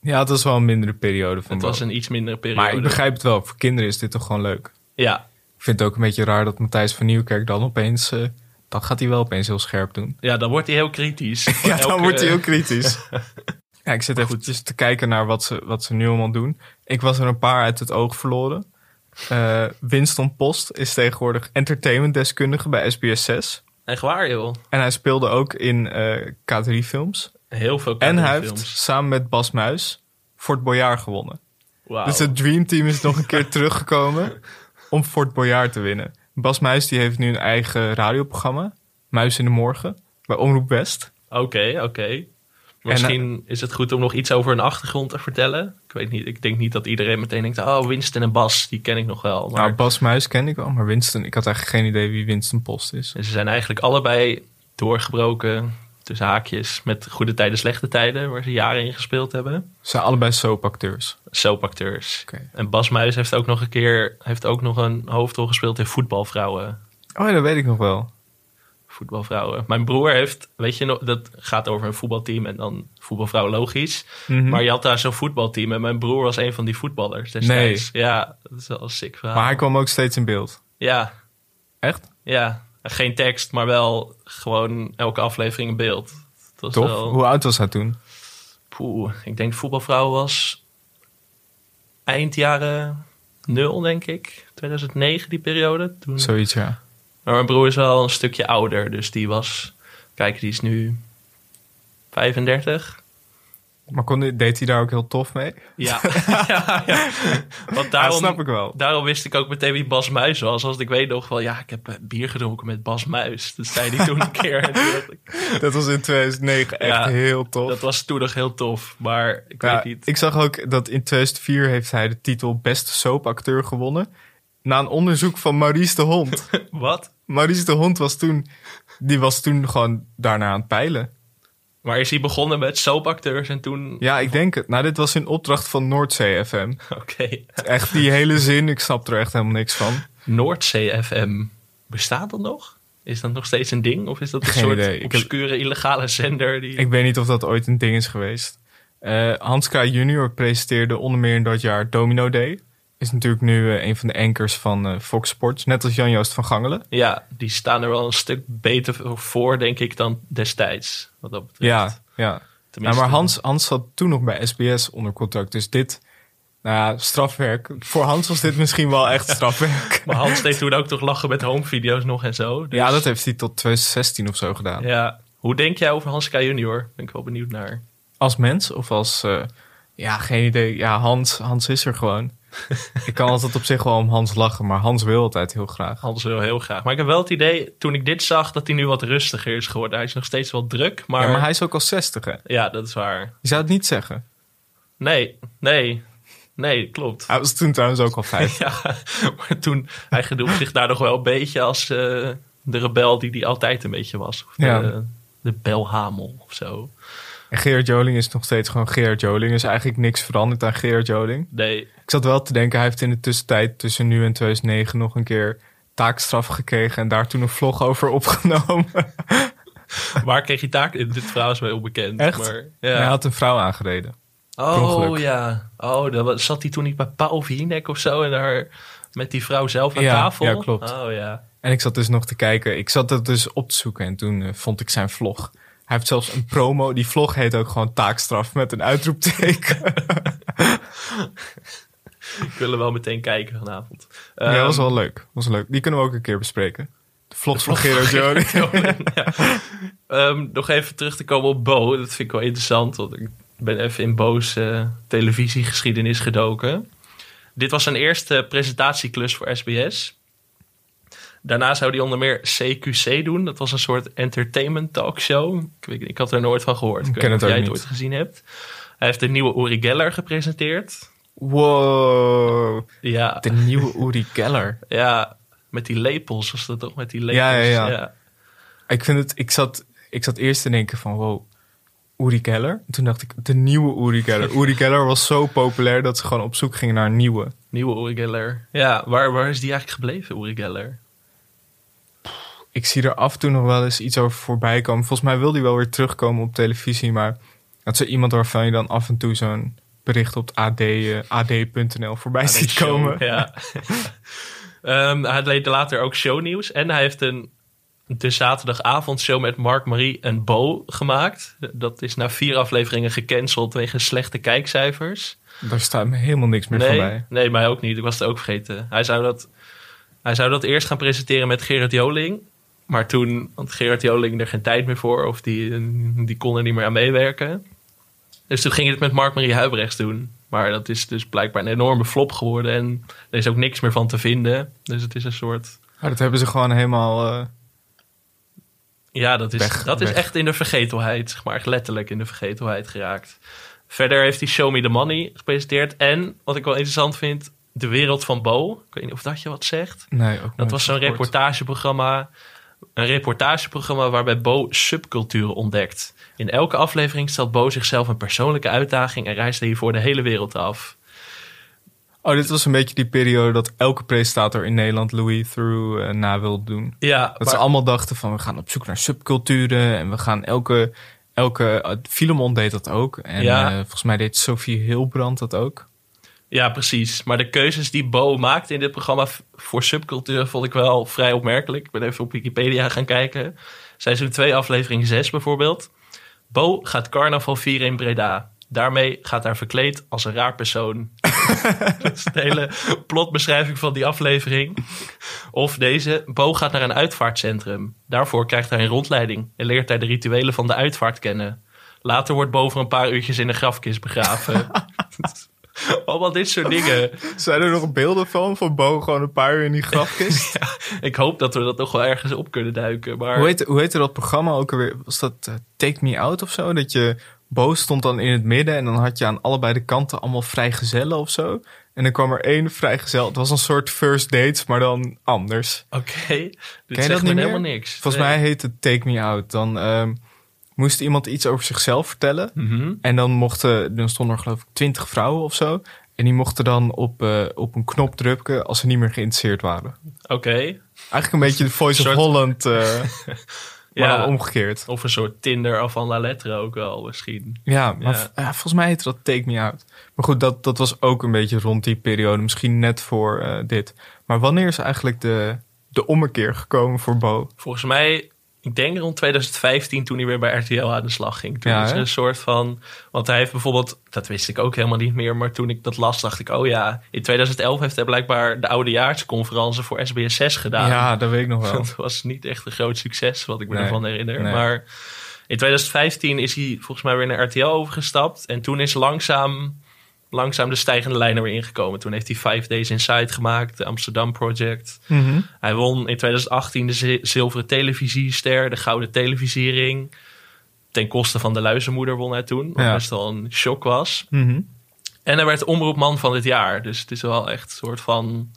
[SPEAKER 3] Ja, het was wel een mindere periode van
[SPEAKER 4] het
[SPEAKER 3] Bo.
[SPEAKER 4] was een iets mindere periode.
[SPEAKER 3] Maar ik begrijp het wel. Voor kinderen is dit toch gewoon leuk.
[SPEAKER 4] Ja,
[SPEAKER 3] Ik vind het ook een beetje raar dat Matthijs van Nieuwkerk dan opeens... eh, dan gaat hij wel opeens heel scherp doen.
[SPEAKER 4] Ja, dan wordt hij heel kritisch.
[SPEAKER 3] Ja, dan
[SPEAKER 4] Elke-
[SPEAKER 3] wordt hij heel kritisch. ja, ik zit eventjes te kijken naar wat ze, wat ze nu allemaal doen. Ik was er een paar uit het oog verloren. Eh, Winston Post is tegenwoordig entertainmentdeskundige bij SBS6.
[SPEAKER 4] Echt waar, joh.
[SPEAKER 3] En hij speelde ook in eh, K3-films.
[SPEAKER 4] Heel veel
[SPEAKER 3] En hij heeft
[SPEAKER 4] films.
[SPEAKER 3] samen met Bas Muis Fort Boyard gewonnen.
[SPEAKER 4] Wauw.
[SPEAKER 3] Dus het Dream Team is nog een keer teruggekomen om Fort Boyard te winnen. Bas Muis die heeft nu een eigen radioprogramma, Muis in de Morgen, bij Omroep West.
[SPEAKER 4] Oké, oké. Misschien is het goed om nog iets over hun achtergrond te vertellen. Ik weet niet, ik denk niet dat iedereen meteen denkt... Oh, Winston en Bas, die ken ik nog wel. Maar
[SPEAKER 3] Nou, Bas Muis ken ik wel, maar Winston, ik had eigenlijk geen idee wie Winston Post is.
[SPEAKER 4] ze zijn eigenlijk allebei doorgebroken... tussen haakjes met goede tijden, slechte tijden... waar ze jaren in gespeeld hebben.
[SPEAKER 3] Ze zijn allebei soapacteurs.
[SPEAKER 4] Soapacteurs.
[SPEAKER 3] Oké.
[SPEAKER 4] En Bas Muis heeft ook nog een keer... heeft ook nog een hoofdrol gespeeld in Voetbalvrouwen.
[SPEAKER 3] Oh ja, dat weet ik nog wel.
[SPEAKER 4] voetbalvrouwen. Mijn broer heeft, weet je nog, dat gaat over een voetbalteam en dan voetbalvrouw logisch.
[SPEAKER 3] Mhm.
[SPEAKER 4] Maar je had daar zo'n voetbalteam en mijn broer was een van die voetballers destijds. Ja, dat is wel een sick verhaal.
[SPEAKER 3] Maar hij kwam ook steeds in beeld.
[SPEAKER 4] Ja,
[SPEAKER 3] Echt?
[SPEAKER 4] ja. Geen tekst, maar wel gewoon elke aflevering een beeld. Het was
[SPEAKER 3] Tof.
[SPEAKER 4] wel-
[SPEAKER 3] Hoe oud was hij toen?
[SPEAKER 4] Poeh, ik denk voetbalvrouw was eind jaren nul, denk ik. 2009, die periode. Toen...
[SPEAKER 3] Zoiets, ja.
[SPEAKER 4] Maar mijn broer is wel een stukje ouder, dus die was... Kijk, die is nu 35.
[SPEAKER 3] Maar kon, hij- deed hij daar ook heel tof mee?
[SPEAKER 4] Ja, ja, ja. Want daarom,
[SPEAKER 3] dat snap ik wel.
[SPEAKER 4] Daarom wist ik ook meteen wie Bas Muis was. Als ik weet nog wel, ja, ik heb eh, bier gedronken met Bas Muis. Dat zei hij toen een keer. En toen dacht ik,
[SPEAKER 3] Dat was in 2009 echt
[SPEAKER 4] Ja,
[SPEAKER 3] heel tof.
[SPEAKER 4] dat was toen nog heel tof, maar ik
[SPEAKER 3] Ja,
[SPEAKER 4] weet niet.
[SPEAKER 3] ik zag ook dat in 2004 heeft hij de titel Beste Soapacteur gewonnen. Na een onderzoek van Maurice de Hond.
[SPEAKER 4] Wat?
[SPEAKER 3] Maurice de Hond was toen, die was toen gewoon daarna aan het peilen.
[SPEAKER 4] Maar is hij begonnen met soapacteurs en toen...
[SPEAKER 3] Ja, ik denk het. Nou, dit was in opdracht van Noordzee FM.
[SPEAKER 4] Oké.
[SPEAKER 3] Echt die hele zin, ik snap er echt helemaal niks van.
[SPEAKER 4] Noordzee FM, bestaat dat nog? Is dat nog steeds een ding? Of is dat een
[SPEAKER 3] Geen
[SPEAKER 4] soort
[SPEAKER 3] idee. Ik heb-
[SPEAKER 4] obscure illegale zender? Die...
[SPEAKER 3] Ik weet niet of dat ooit een ding is geweest. Eh, Hans K. Junior presenteerde onder meer in dat jaar Domino Day. Is natuurlijk nu eh, een van de anchors van eh, Fox Sports. Net als Jan-Joost van Gangelen.
[SPEAKER 4] Ja, die staan er wel een stuk beter voor, denk ik, dan destijds. Wat dat betreft.
[SPEAKER 3] Ja, ja. Nou,
[SPEAKER 4] Tenminste-
[SPEAKER 3] maar Hans, Hans zat toen nog bij SBS onder contract. Dus dit, nou ja, strafwerk. Voor Hans was dit misschien wel echt strafwerk.
[SPEAKER 4] Maar Hans deed toen ook toch lachen met homevideo's nog en zo. Dus,
[SPEAKER 3] Ja, dat heeft hij tot 2016 of zo gedaan.
[SPEAKER 4] ja. Hoe denk jij over Hans K. Junior? Ben ik wel benieuwd naar.
[SPEAKER 3] Als mens of als... eh, ja, geen idee. Ja, Hans, Hans is er gewoon. ik kan altijd op zich wel om Hans lachen, maar Hans wil altijd heel graag.
[SPEAKER 4] Hans wil heel graag. Maar ik heb wel het idee, toen ik dit zag, dat hij nu wat rustiger is geworden. Hij is nog steeds wel druk, maar...
[SPEAKER 3] Ja, maar hij is ook al 60, hè?
[SPEAKER 4] Ja, dat is waar.
[SPEAKER 3] Je zou het niet zeggen.
[SPEAKER 4] Nee, nee, nee, klopt.
[SPEAKER 3] Hij was toen trouwens ook al 5.
[SPEAKER 4] Ja, maar toen, hij gedroeg zich daar nog wel een beetje als eh, de rebel die die altijd een beetje was. Of de,
[SPEAKER 3] Ja.
[SPEAKER 4] de belhamel of zo.
[SPEAKER 3] en Gerard Joling is nog steeds gewoon Gerard Joling. Er is eigenlijk niks veranderd aan Gerard Joling.
[SPEAKER 4] Nee,
[SPEAKER 3] Ik zat wel te denken, hij heeft in de tussentijd tussen nu en 2009 nog een keer taakstraf gekregen en daar toen een vlog over opgenomen.
[SPEAKER 4] waar kreeg hij taak in? Dit verhaal is mij onbekend.
[SPEAKER 3] Echt?
[SPEAKER 4] Maar,
[SPEAKER 3] Hij
[SPEAKER 4] ja.
[SPEAKER 3] had een vrouw aangereden.
[SPEAKER 4] Oh
[SPEAKER 3] ongeluk.
[SPEAKER 4] ja, oh, dan wa- zat hij toen niet bij Paul Vienek of zo en daar met die vrouw zelf aan
[SPEAKER 3] Ja,
[SPEAKER 4] tafel?
[SPEAKER 3] ja, klopt.
[SPEAKER 4] Oh ja.
[SPEAKER 3] En ik zat dus nog te kijken. Ik zat dat dus op te zoeken en toen eh, vond ik zijn vlog. Hij heeft zelfs een promo. Die vlog heet ook gewoon taakstraf met een uitroepteken.
[SPEAKER 4] Ik wil er wel meteen kijken vanavond.
[SPEAKER 3] ja, dat was
[SPEAKER 4] Ehm,
[SPEAKER 3] wel leuk. was leuk. Die kunnen we ook een keer bespreken. De vlogs van Gerard Joling.
[SPEAKER 4] Ja. Ehm, nog even terug te komen op Bo. Dat vind ik wel interessant. Want ik ben even in Bo's eh, televisiegeschiedenis gedoken. Dit was zijn eerste presentatieklus voor SBS. Daarna zou hij onder meer CQC doen. Dat was een soort entertainment talkshow. Ik, weet, ik had er nooit van gehoord. Ik weet
[SPEAKER 3] ken
[SPEAKER 4] niet of
[SPEAKER 3] het ook
[SPEAKER 4] jij het
[SPEAKER 3] niet.
[SPEAKER 4] ooit gezien hebt. Hij heeft de nieuwe Uri Geller gepresenteerd.
[SPEAKER 3] Wow.
[SPEAKER 4] Ja,
[SPEAKER 3] De nieuwe Uri Geller.
[SPEAKER 4] ja met die lepels was dat toch? Met die lepels.
[SPEAKER 3] Ja, ja, ja. Ik vind het, ik zat, ik zat eerst te denken van wow, Uri Geller. En toen dacht ik, de nieuwe Uri Geller. Uri Geller was zo populair dat ze gewoon op zoek gingen naar een nieuwe.
[SPEAKER 4] Nieuwe Uri Geller. Ja, waar, waar is die eigenlijk gebleven, Uri Geller?
[SPEAKER 3] Ik zie er af en toe nog wel eens iets over voorbij komen. Volgens mij wil die wel weer terugkomen op televisie, maar dat is iemand waarvan je dan af en toe zo'n bericht op het AD, eh, ad.nl voorbij ziet
[SPEAKER 4] Show,
[SPEAKER 3] komen.
[SPEAKER 4] Ja. Ehm, hij deed later ook shownieuws. En hij heeft een de zaterdagavondshow met Mark, Marie en Bo gemaakt. Dat is na vier afleveringen gecanceld wegens slechte kijkcijfers.
[SPEAKER 3] Daar staat me helemaal niks meer van
[SPEAKER 4] Nee,
[SPEAKER 3] bij.
[SPEAKER 4] nee, mij ook niet. Ik was het ook vergeten. Hij zou dat, hij zou dat eerst gaan presenteren met Gerard Joling. Maar toen had Gerard Joling er geen tijd meer voor. Of die, die kon er niet meer aan meewerken. Dus toen ging hij het met Mark-Marie Huibrechts doen. Maar dat is dus blijkbaar een enorme flop geworden. En er is ook niks meer van te vinden. Dus het is een soort...
[SPEAKER 3] Maar dat hebben ze gewoon helemaal... eh,
[SPEAKER 4] Ja, dat is,
[SPEAKER 3] Weg,
[SPEAKER 4] dat is
[SPEAKER 3] weg.
[SPEAKER 4] echt in de vergetelheid, zeg maar, echt letterlijk in de vergetelheid geraakt. Verder heeft hij Show Me the Money gepresenteerd. En wat ik wel interessant vind, De Wereld van Bo. Ik weet niet of dat je wat zegt.
[SPEAKER 3] nee, ook
[SPEAKER 4] Dat
[SPEAKER 3] nooit
[SPEAKER 4] was zo'n
[SPEAKER 3] gehoord.
[SPEAKER 4] reportageprogramma. Een reportageprogramma waarbij Bo subculturen ontdekt. In elke aflevering stelt Bo zichzelf een persoonlijke uitdaging en reist hij hiervoor de hele wereld af.
[SPEAKER 3] Oh, dit was een beetje die periode dat elke presentator in Nederland Louis Through eh, na wil doen.
[SPEAKER 4] Ja,
[SPEAKER 3] Dat ze
[SPEAKER 4] maar-
[SPEAKER 3] allemaal dachten van we gaan op zoek naar subculturen en we gaan elke. elke eh, Filemon deed dat ook. En
[SPEAKER 4] Ja.
[SPEAKER 3] eh, volgens mij deed Sophie Hilbrand dat ook.
[SPEAKER 4] Ja, precies. Maar de keuzes die Bo maakte in dit programma v- voor subcultuur vond ik wel vrij opmerkelijk. Ik ben even op Wikipedia gaan kijken. Seizoen 2, aflevering 6 bijvoorbeeld. Bo gaat carnaval vieren in Breda. Daarmee gaat haar verkleed als een raar persoon. dat is de hele plotbeschrijving van die aflevering. Of deze. Bo gaat naar een uitvaartcentrum. Daarvoor krijgt hij een rondleiding en leert hij de rituelen van de uitvaart kennen. Later wordt Bo voor een paar uurtjes in een grafkist begraven. Allemaal dit soort dingen.
[SPEAKER 3] Zijn er nog beelden van? Van Bo gewoon een paar uur in die grafkist?
[SPEAKER 4] Ja, ik hoop dat we dat nog wel ergens op kunnen duiken. Maar
[SPEAKER 3] Hoe heette, hoe heette dat programma ook alweer? Was dat eh, Take Me Out of zo? Dat je boos stond dan in het midden en dan had je aan allebei de kanten allemaal vrijgezellen of zo. En dan kwam er één vrijgezel. Het was een soort first dates, maar dan anders.
[SPEAKER 4] oké, dit
[SPEAKER 3] Ken je
[SPEAKER 4] zegt
[SPEAKER 3] dat
[SPEAKER 4] me
[SPEAKER 3] niet meer?
[SPEAKER 4] helemaal niks.
[SPEAKER 3] Volgens
[SPEAKER 4] Nee.
[SPEAKER 3] mij heette het Take Me Out. Dan ehm, moest iemand iets over zichzelf vertellen.
[SPEAKER 4] Mhm.
[SPEAKER 3] En dan mochten, dan stonden er geloof ik twintig vrouwen of zo. En die mochten dan op, eh, op een knop drukken als ze niet meer geïnteresseerd waren.
[SPEAKER 4] Oké,
[SPEAKER 3] Eigenlijk een beetje de Voice
[SPEAKER 4] Soort-
[SPEAKER 3] of Holland, eh, maar
[SPEAKER 4] Ja.
[SPEAKER 3] dan omgekeerd.
[SPEAKER 4] of een soort Tinder of van la lettre ook wel misschien.
[SPEAKER 3] Ja, maar
[SPEAKER 4] Ja.
[SPEAKER 3] v- ja, volgens mij heette dat Take Me Out. Maar goed, dat, dat was ook een beetje rond die periode. Misschien net voor eh, dit. Maar wanneer is eigenlijk de, de ommekeer gekomen voor Bo?
[SPEAKER 4] Volgens mij, ik denk rond 2015 toen hij weer bij RTL aan de slag ging. Toen
[SPEAKER 3] Ja,
[SPEAKER 4] is er
[SPEAKER 3] hè?
[SPEAKER 4] een soort van, want hij heeft bijvoorbeeld, dat wist ik ook helemaal niet meer. Maar toen ik dat las dacht ik, oh ja, in 2011 heeft hij blijkbaar de oudejaarsconferentie voor SBS6 gedaan.
[SPEAKER 3] Ja, dat weet ik nog wel.
[SPEAKER 4] Dat was niet echt een groot succes, wat ik me
[SPEAKER 3] Nee,
[SPEAKER 4] ervan herinner.
[SPEAKER 3] nee.
[SPEAKER 4] Maar in 2015 is hij volgens mij weer naar RTL overgestapt. En toen is langzaam, langzaam de stijgende lijn er weer ingekomen. Toen heeft hij Five Days Inside gemaakt, de Amsterdam Project.
[SPEAKER 3] Mhm.
[SPEAKER 4] Hij won in 2018 de zi- zilveren televisiester, de gouden televisiering. Ten koste van de luizenmoeder won hij toen. Wat
[SPEAKER 3] Ja.
[SPEAKER 4] best wel een shock was.
[SPEAKER 3] Mhm.
[SPEAKER 4] En hij werd omroepman van het jaar. Dus het is wel echt een soort van...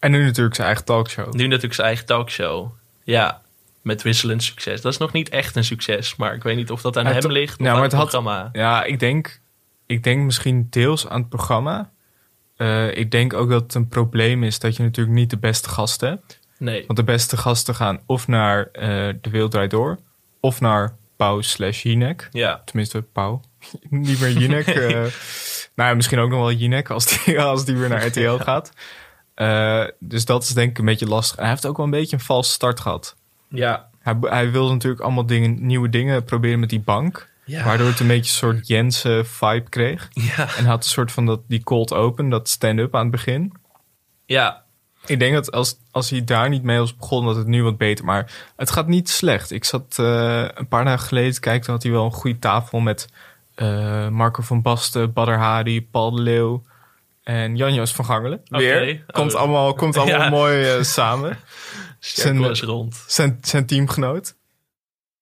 [SPEAKER 3] En nu natuurlijk zijn eigen talkshow.
[SPEAKER 4] Nu natuurlijk zijn eigen talkshow. Ja, met wisselend succes. Dat is nog niet echt een succes, maar ik weet niet of dat aan
[SPEAKER 3] Het-
[SPEAKER 4] hem ligt of
[SPEAKER 3] ja,
[SPEAKER 4] aan
[SPEAKER 3] maar
[SPEAKER 4] het,
[SPEAKER 3] het had-
[SPEAKER 4] programma.
[SPEAKER 3] Ja, ik denk, ik denk misschien deels aan het programma. Eh, ik denk ook dat het een probleem is dat je natuurlijk niet de beste gasten hebt.
[SPEAKER 4] Nee,
[SPEAKER 3] Want de beste gasten gaan of naar eh, De Wereld Draait Door... of naar Pauw slash Jinek.
[SPEAKER 4] ja.
[SPEAKER 3] Tenminste, Pauw. Niet meer Jinek. eh. nou ja, misschien ook nog wel Jinek als die, als die weer naar RTL gaat. Eh, dus dat is denk ik een beetje lastig. En hij heeft ook wel een beetje een valse start gehad.
[SPEAKER 4] Ja.
[SPEAKER 3] Hij, hij wilde natuurlijk allemaal dingen, nieuwe dingen proberen met die bank.
[SPEAKER 4] Ja.
[SPEAKER 3] Waardoor het een beetje een soort Jensen vibe kreeg.
[SPEAKER 4] Ja.
[SPEAKER 3] En hij had een soort van dat, die cold open, dat stand-up aan het begin.
[SPEAKER 4] ja.
[SPEAKER 3] Ik denk dat als, als hij daar niet mee was begonnen, dat het nu wat beter. Maar het gaat niet slecht. Ik zat eh, een paar dagen geleden te kijken, toen had hij wel een goede tafel met eh, Marco van Basten, Badr Hari, Paul de Leeuw en Jan-Joos van Gangelen. Weer. Komt
[SPEAKER 4] Oh.
[SPEAKER 3] allemaal, komt allemaal
[SPEAKER 4] Ja.
[SPEAKER 3] mooi eh, samen.
[SPEAKER 4] Cirkel is rond.
[SPEAKER 3] Zijn, zijn teamgenoot.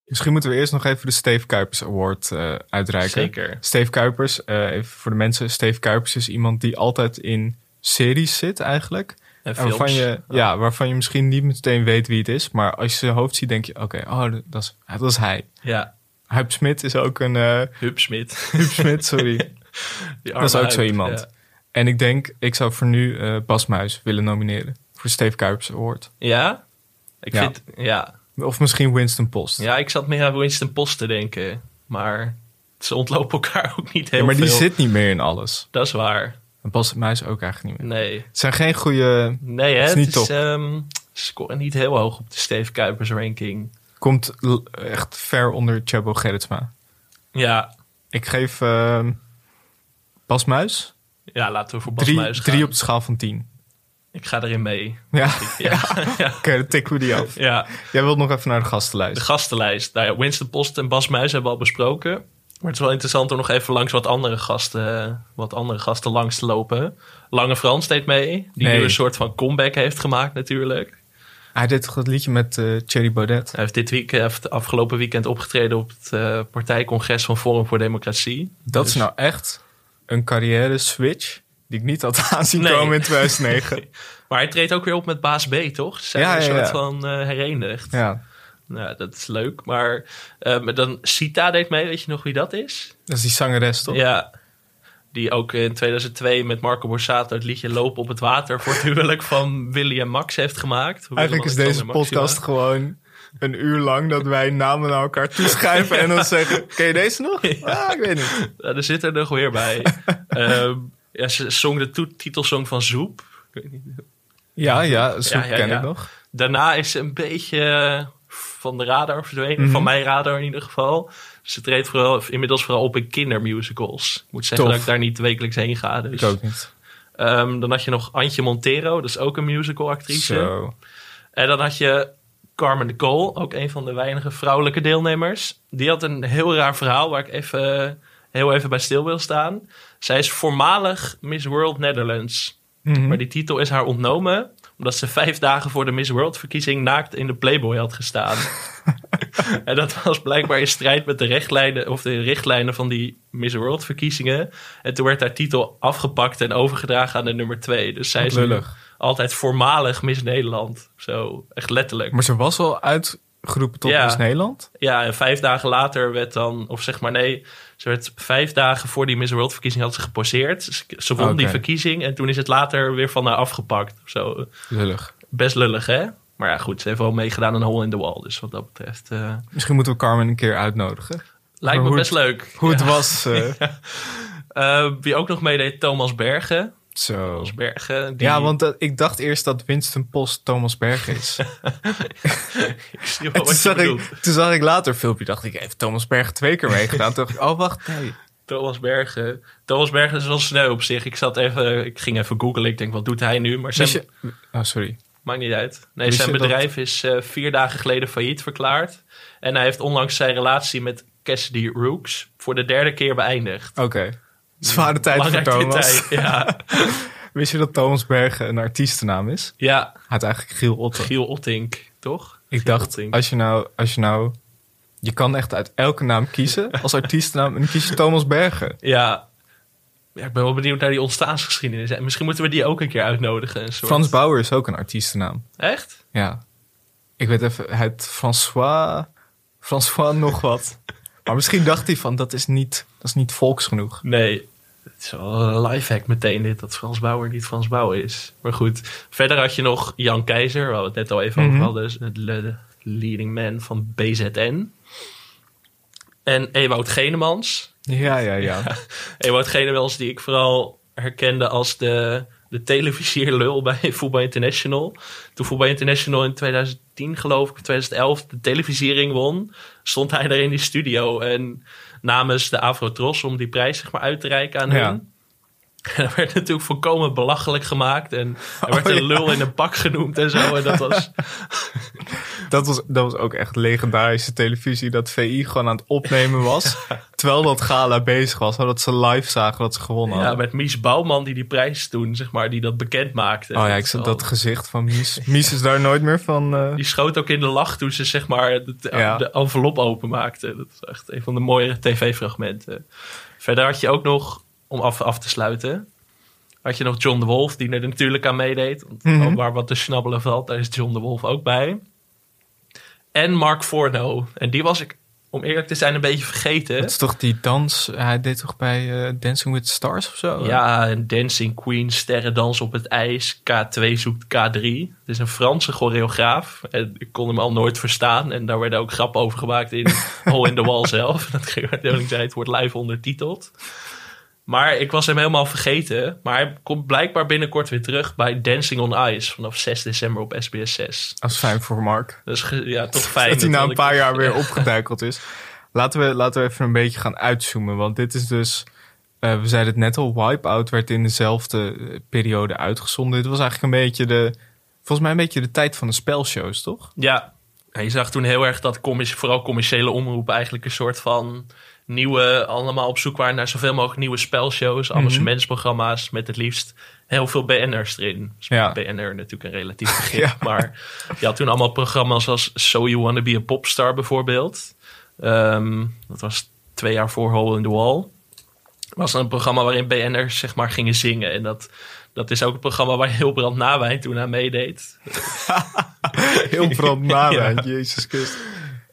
[SPEAKER 3] Misschien moeten we eerst nog even de Steve Kuipers Award eh, uitreiken.
[SPEAKER 4] Zeker.
[SPEAKER 3] Steve Kuipers, eh, even voor de mensen. Steve Kuipers is iemand die altijd in series zit eigenlijk.
[SPEAKER 4] En
[SPEAKER 3] En waarvan
[SPEAKER 4] films. Oh.
[SPEAKER 3] je, ja, waarvan je misschien niet meteen weet wie het is. Maar als je zijn hoofd ziet, denk je: oké, oh, dat- dat, is, dat is hij.
[SPEAKER 4] Ja,
[SPEAKER 3] Huip Smit is ook een. eh
[SPEAKER 4] Huub Smit.
[SPEAKER 3] Huub Smit, sorry.
[SPEAKER 4] Die
[SPEAKER 3] dat is
[SPEAKER 4] arme
[SPEAKER 3] ook zo
[SPEAKER 4] Huub,
[SPEAKER 3] iemand.
[SPEAKER 4] Ja.
[SPEAKER 3] En ik denk, ik zou voor nu eh Bas Muis willen nomineren. Voor Steve Kuipers Award.
[SPEAKER 4] Ja? Ik
[SPEAKER 3] Ja.
[SPEAKER 4] vind... Ja.
[SPEAKER 3] Of misschien Winston Post.
[SPEAKER 4] Ja, ik zat meer aan Winston Post te denken. Maar ze ontlopen elkaar ook niet heel
[SPEAKER 3] Ja, maar die
[SPEAKER 4] veel.
[SPEAKER 3] zit niet meer in alles.
[SPEAKER 4] Dat is waar.
[SPEAKER 3] En Bas Muis ook eigenlijk niet meer.
[SPEAKER 4] Nee.
[SPEAKER 3] Het zijn geen goede.
[SPEAKER 4] Nee, hè?
[SPEAKER 3] Dat is niet
[SPEAKER 4] het is,
[SPEAKER 3] top.
[SPEAKER 4] ehm, scoren niet heel hoog op de Steve Kuipers ranking.
[SPEAKER 3] Komt l- echt ver onder Chabo Gerritsma.
[SPEAKER 4] Ja,
[SPEAKER 3] Ik geef eh, Bas Muis
[SPEAKER 4] Ja, laten we voor Bas
[SPEAKER 3] drie,
[SPEAKER 4] Muis gaan.
[SPEAKER 3] drie op de schaal van tien.
[SPEAKER 4] Ik ga erin mee.
[SPEAKER 3] Ja.
[SPEAKER 4] Ja. ja.
[SPEAKER 3] Oké, dan tikken we die af.
[SPEAKER 4] ja.
[SPEAKER 3] Jij wilt nog even naar de
[SPEAKER 4] De
[SPEAKER 3] gastenlijst.
[SPEAKER 4] gastenlijst. Nou ja, Winston Post en Bas Muis hebben we al besproken. Maar het is wel interessant om nog even langs wat andere gasten, wat andere gasten langs te lopen. Lange Frans deed mee. Die
[SPEAKER 3] Nee.
[SPEAKER 4] nu een soort van comeback heeft gemaakt natuurlijk.
[SPEAKER 3] Hij deed toch dat liedje met eh Thierry Baudet?
[SPEAKER 4] Hij heeft dit weekend, heeft afgelopen weekend opgetreden op het eh, partijcongres van Forum voor Democratie. Dus-
[SPEAKER 3] Dat is nou echt een carrière switch die ik niet had aanzien
[SPEAKER 4] Nee.
[SPEAKER 3] komen in 2009.
[SPEAKER 4] Maar hij treedt ook weer op met Baas B, toch? Ze zijn
[SPEAKER 3] Ja,
[SPEAKER 4] een
[SPEAKER 3] ja,
[SPEAKER 4] soort
[SPEAKER 3] ja.
[SPEAKER 4] van eh, herenigd.
[SPEAKER 3] ja,
[SPEAKER 4] Nou, dat is leuk. eh, Maar ehm, dan Sita deed mee. Weet je nog wie dat is?
[SPEAKER 3] Oh. dat is die zangeres toch?
[SPEAKER 4] Ja. Die ook in 2002 met Marco Borsato het liedje Lopen op het Water voor het huwelijk van Willy en Max heeft gemaakt.
[SPEAKER 3] Eigenlijk is
[SPEAKER 4] Willem,
[SPEAKER 3] deze
[SPEAKER 4] Alexander, Maxima.
[SPEAKER 3] podcast gewoon een uur lang dat wij namen naar elkaar toeschrijven en dan zeggen: Ken je deze nog? Ah, ik weet niet.
[SPEAKER 4] Ja, er zit er nog weer bij. Ehm, ja, ze zong de toe- titelsong van Zoep. Ik weet niet.
[SPEAKER 3] Ja, ja, zo
[SPEAKER 4] Ja, ja,
[SPEAKER 3] ken
[SPEAKER 4] ja.
[SPEAKER 3] ik nog.
[SPEAKER 4] Daarna is ze een beetje eh, van de radar verdwenen.
[SPEAKER 3] Mhm.
[SPEAKER 4] Van mijn radar in ieder geval. Ze treedt vooral, inmiddels vooral op in kindermusicals. Ik moet zeggen
[SPEAKER 3] Tof.
[SPEAKER 4] dat ik daar niet wekelijks heen ga. Dus.
[SPEAKER 3] Ik ook niet.
[SPEAKER 4] Ehm, dan had je nog Antje Montero. Dat is ook een musicalactrice.
[SPEAKER 3] Zo.
[SPEAKER 4] En Eh, dan had je Carmen de Cole, ook een van de weinige vrouwelijke deelnemers. Die had een heel raar verhaal waar ik even, eh, heel even bij stil wil staan. Zij is voormalig Miss World Netherlands. Maar die titel is haar ontnomen omdat ze vijf dagen voor de Miss World-verkiezing naakt in de Playboy had gestaan. en dat was blijkbaar in strijd met de, rechtlijnen, of de richtlijnen van die Miss World-verkiezingen. En toen werd haar titel afgepakt en overgedragen aan de nummer twee. Dus zij is nu
[SPEAKER 3] Lullig.
[SPEAKER 4] altijd voormalig Miss Nederland. Zo, echt letterlijk.
[SPEAKER 3] Maar ze was al uitgeroepen tot
[SPEAKER 4] Ja.
[SPEAKER 3] Miss Nederland.
[SPEAKER 4] Ja, en vijf dagen later werd dan, of zeg maar nee, ze werd vijf dagen voor die Miss World verkiezing had ze geposeerd. Ze- Ze won die
[SPEAKER 3] Oké.
[SPEAKER 4] verkiezing en toen is het later weer van haar afgepakt. Zo,
[SPEAKER 3] Lullig.
[SPEAKER 4] best lullig hè? Maar ja, goed, ze heeft wel meegedaan aan Hole in the Wall. Dus wat dat betreft eh,
[SPEAKER 3] Misschien moeten we Carmen een keer uitnodigen.
[SPEAKER 4] lijkt me
[SPEAKER 3] hoe
[SPEAKER 4] best
[SPEAKER 3] het-
[SPEAKER 4] leuk.
[SPEAKER 3] Hoe het was. eh,
[SPEAKER 4] Eh, wie ook nog meedeed, Thomas Bergen.
[SPEAKER 3] Zo.
[SPEAKER 4] Thomas Bergen, die
[SPEAKER 3] Ja, want dat- ik dacht eerst dat Winston Post Thomas Berg is.
[SPEAKER 4] ik zie
[SPEAKER 3] En toen,
[SPEAKER 4] wel wat je
[SPEAKER 3] zag
[SPEAKER 4] bedoelt.
[SPEAKER 3] ik, toen zag ik later een filmpje, dacht ik, heeft Thomas Berg twee keer meegedaan? Toen dacht ik, oh wacht, nee.
[SPEAKER 4] Thomas Bergen. Thomas Bergen is wel sneu op zich. Ik zat even, ik ging even googlen. Ik denk, wat doet hij nu? Maar zijn,
[SPEAKER 3] Wist je- Oh, sorry.
[SPEAKER 4] Maakt niet uit. Nee,
[SPEAKER 3] Wist
[SPEAKER 4] zijn
[SPEAKER 3] je dat-
[SPEAKER 4] bedrijf is eh, vier dagen geleden failliet verklaard. En hij heeft onlangs zijn relatie met Cassidy Rooks voor de derde keer beëindigd.
[SPEAKER 3] Oké. Zware tijd voor
[SPEAKER 4] Belangrijk
[SPEAKER 3] Thomas.
[SPEAKER 4] detail, Ja,
[SPEAKER 3] Wist je dat Thomas Berg een artiestennaam is?
[SPEAKER 4] ja.
[SPEAKER 3] Hij heet eigenlijk Giel Otter.
[SPEAKER 4] Giel Ottink, toch?
[SPEAKER 3] ik
[SPEAKER 4] Giel
[SPEAKER 3] dacht,
[SPEAKER 4] Ottink.
[SPEAKER 3] als je, nou, als je nou... Je kan echt uit elke naam kiezen als artiestennaam. En dan kies je Thomas Bergen.
[SPEAKER 4] Ja. ja, ik ben wel benieuwd naar die ontstaansgeschiedenis. En misschien moeten we die ook een keer uitnodigen. Een soort...
[SPEAKER 3] Frans Bauer is ook een artiestennaam.
[SPEAKER 4] Echt?
[SPEAKER 3] Ja. Ik weet even, hij heet François... François nog wat. Maar misschien dacht hij van, dat is niet, dat is niet volks genoeg.
[SPEAKER 4] Nee. Het is wel een lifehack meteen dit, dat Frans Bauer niet Frans Bauer is. Maar goed, verder had je nog Jan Keizer, waar we het net al even over hadden. dus het le- de leading man van BZN. En Ewout Genemans.
[SPEAKER 3] Ja, ja, ja.
[SPEAKER 4] Ewout Genemans die ik vooral herkende als de, de televisierlul bij Voetbal International. Toen Voetbal International in 2010 geloof ik, of 2011, de televisiering won, stond hij daar in die studio. En namens de Afrotros om die prijs zeg maar uit te reiken aan
[SPEAKER 3] Ja.
[SPEAKER 4] hen. En dat werd natuurlijk volkomen belachelijk gemaakt. En er werd
[SPEAKER 3] Oh,
[SPEAKER 4] een
[SPEAKER 3] ja.
[SPEAKER 4] lul in een pak genoemd en zo. En dat was,
[SPEAKER 3] Dat was, dat was ook echt legendarische televisie. Dat VI gewoon aan het opnemen was. Terwijl dat gala bezig was. Zodat ze live zagen dat ze gewonnen
[SPEAKER 4] ja,
[SPEAKER 3] hadden.
[SPEAKER 4] met Mies Bouwman die die prijs toen, zeg maar, die dat bekend maakte.
[SPEAKER 3] Oh ja, ik zag dat gezicht van Mies. Mies is daar nooit meer van. eh,
[SPEAKER 4] Die schoot ook in de lach toen ze zeg maar de, de-
[SPEAKER 3] Ja.
[SPEAKER 4] de envelop openmaakte. Dat is echt een van de mooiere tv-fragmenten. Verder had je ook nog, om af, af te sluiten... had je nog John de Wolf, die er natuurlijk aan meedeed. Want
[SPEAKER 3] Mhm.
[SPEAKER 4] Waar wat te snabbelen valt, daar is John de Wolf ook bij. En Mark Forno. En die was ik, om eerlijk te zijn, een beetje vergeten.
[SPEAKER 3] dat is toch die dans. Hij deed toch bij eh, Dancing with the Stars of zo?
[SPEAKER 4] Ja, en Dancing Queen, Sterrendans op het ijs, K2 zoekt K3. Het is een Franse choreograaf. En ik kon hem al nooit verstaan. En daar werden ook grappen over gemaakt in Hole in the Wall zelf. Dat ging wat ik zei, het wordt live ondertiteld. Maar ik was hem helemaal vergeten. Maar hij komt blijkbaar binnenkort weer terug bij Dancing on Ice. Vanaf 6 december op SBS 6.
[SPEAKER 3] Dat is fijn voor Mark.
[SPEAKER 4] Dus ge- ja, toch fijn.
[SPEAKER 3] dat hij na
[SPEAKER 4] dat
[SPEAKER 3] een
[SPEAKER 4] ik-
[SPEAKER 3] paar jaar weer opgeduikeld is. Laten we, laten we even een beetje gaan uitzoomen. Want dit is dus. eh, we zeiden het net al, Wipeout werd in dezelfde eh, periode uitgezonden. Dit was eigenlijk een beetje de. Volgens mij een beetje de tijd van de spelshows, toch?
[SPEAKER 4] Ja. Ja, je zag toen heel erg dat commis- vooral commerciële omroepen eigenlijk een soort van nieuwe, allemaal op zoek waren naar zoveel mogelijk nieuwe spelshows,
[SPEAKER 3] Mhm.
[SPEAKER 4] amusementsprogramma's met het liefst heel veel BN'ers erin. Dus
[SPEAKER 3] Ja.
[SPEAKER 4] BNR natuurlijk een relatief begrip, maar je had toen allemaal programma's als So You Wanna Be a Popstar bijvoorbeeld. Ehm, dat was twee jaar voor Hole in the Wall. was een programma waarin BN'ers zeg maar gingen zingen en dat... Dat is ook een programma waar Hilbrand Nawijn toen aan meedeed.
[SPEAKER 3] Heel brandnawijn, Jezus Christus.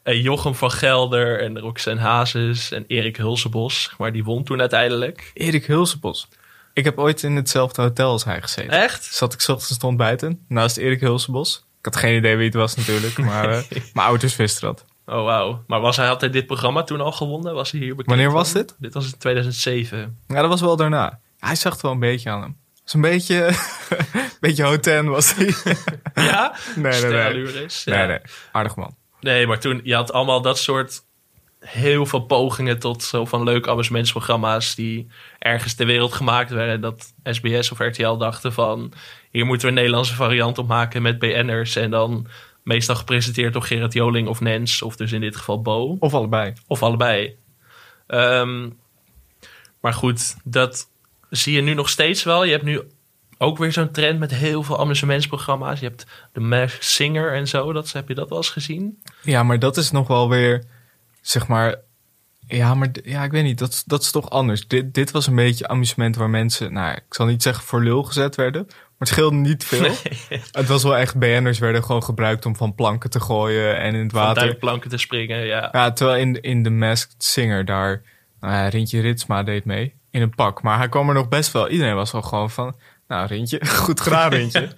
[SPEAKER 4] eh, Jochem van Gelder en Roxanne Hazes en Erik Hulsebos. Zeg maar die won toen uiteindelijk.
[SPEAKER 3] Erik Hulsebos. Ik heb ooit in hetzelfde hotel als hij gezeten.
[SPEAKER 4] Echt?
[SPEAKER 3] Zat ik 's ochtends te ontbijten naast Erik Hulsebos. Ik had geen idee wie het was natuurlijk, maar eh, mijn ouders wisten dat.
[SPEAKER 4] Oh, wauw. Maar was hij, had hij dit programma toen al gewonnen? Was hij hier bekend
[SPEAKER 3] Wanneer was
[SPEAKER 4] van?
[SPEAKER 3] dit?
[SPEAKER 4] Dit was in 2007.
[SPEAKER 3] Ja, dat was wel daarna. Hij zag het wel een beetje aan hem. Zo'n beetje, een beetje hoten was hij.
[SPEAKER 4] Ja?
[SPEAKER 3] nee, nee.
[SPEAKER 4] Sterrenlures, ja.
[SPEAKER 3] Nee, nee. Aardig man.
[SPEAKER 4] Nee, maar toen, je had allemaal dat soort heel veel pogingen tot zo van leuke amusementsprogramma's die ergens ter wereld gemaakt werden. Dat SBS of RTL dachten van, hier moeten we een Nederlandse variant op maken met BN'ers. En dan meestal gepresenteerd door Gerrit Joling of Nens, of dus in dit geval Bo.
[SPEAKER 3] Of allebei.
[SPEAKER 4] Of allebei. Ehm, maar goed, dat zie je nu nog steeds wel. Je hebt nu ook weer zo'n trend met heel veel amusementsprogramma's. Je hebt de Masked Singer en zo. Dat, heb je dat wel eens gezien?
[SPEAKER 3] Ja, maar dat is nog wel weer, zeg maar. Ja, maar d- ja, ik weet niet. Dat, is- dat is toch anders. Dit, dit was een beetje amusement waar mensen, nou, ik zal niet zeggen voor lul gezet werden. Maar het scheelde niet veel. Het was wel echt, BN'ers werden gewoon gebruikt om van planken te gooien en in het
[SPEAKER 4] Van
[SPEAKER 3] water.
[SPEAKER 4] duikplanken te springen, ja.
[SPEAKER 3] Ja, terwijl in, in The Masked Singer daar, nou ja, Rintje Ritsma deed mee in een pak. Maar hij kwam er nog best wel, iedereen was wel gewoon van, nou Rintje, goed gedaan Rintje.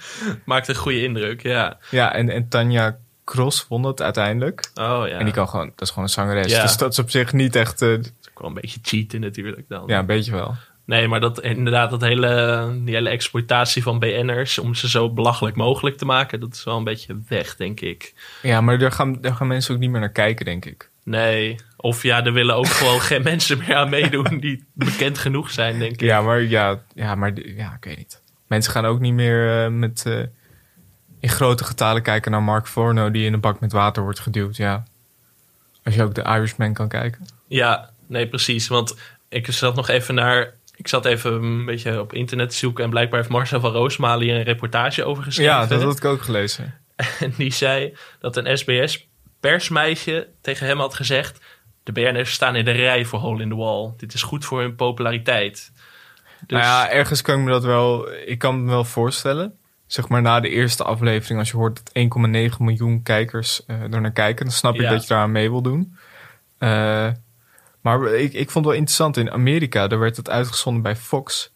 [SPEAKER 4] Maakt een goede indruk, ja.
[SPEAKER 3] ja, en, en Tanja Cross won dat uiteindelijk.
[SPEAKER 4] Oh ja,
[SPEAKER 3] En die kan gewoon, dat is gewoon een zangeres.
[SPEAKER 4] Ja.
[SPEAKER 3] Dus dat is op zich niet echt, eh,
[SPEAKER 4] dat kwam een beetje cheaten natuurlijk dan.
[SPEAKER 3] ja, een beetje wel.
[SPEAKER 4] Nee, maar dat, inderdaad, dat hele, die hele exploitatie van BN'ers... om ze zo belachelijk mogelijk te maken... dat is wel een beetje weg, denk ik.
[SPEAKER 3] Ja, maar daar gaan, daar gaan mensen ook niet meer naar kijken, denk ik.
[SPEAKER 4] Nee. Of ja, er willen ook gewoon geen mensen meer aan meedoen die bekend genoeg zijn, denk ik.
[SPEAKER 3] Ja, maar ja, ja, maar d- ja, ik weet niet. Mensen gaan ook niet meer eh, met, eh, in grote getalen kijken naar Mark Forno die in een bak met water wordt geduwd, ja. Als je ook de Irishman kan kijken.
[SPEAKER 4] Ja, nee, precies. Want ik zat nog even naar. Ik zat even een beetje op internet te zoeken. En blijkbaar heeft Marcel van Roosmalen hier een reportage over geschreven.
[SPEAKER 3] Ja, dat had ik ook gelezen.
[SPEAKER 4] En die zei dat een SBS-persmeisje tegen hem had gezegd. De BN'ers staan in de rij voor Hole in the Wall. Dit is goed voor hun populariteit. Dus,
[SPEAKER 3] Nou ja, ergens kan ik me dat wel, ik kan me wel voorstellen. Zeg maar na de eerste aflevering, als je hoort dat 1,9 miljoen kijkers eh er naar kijken, dan snap ik
[SPEAKER 4] Ja.
[SPEAKER 3] dat je daaraan mee wil doen. Eh, maar ik, ik vond het wel interessant, in Amerika, daar werd het uitgezonden bij Fox.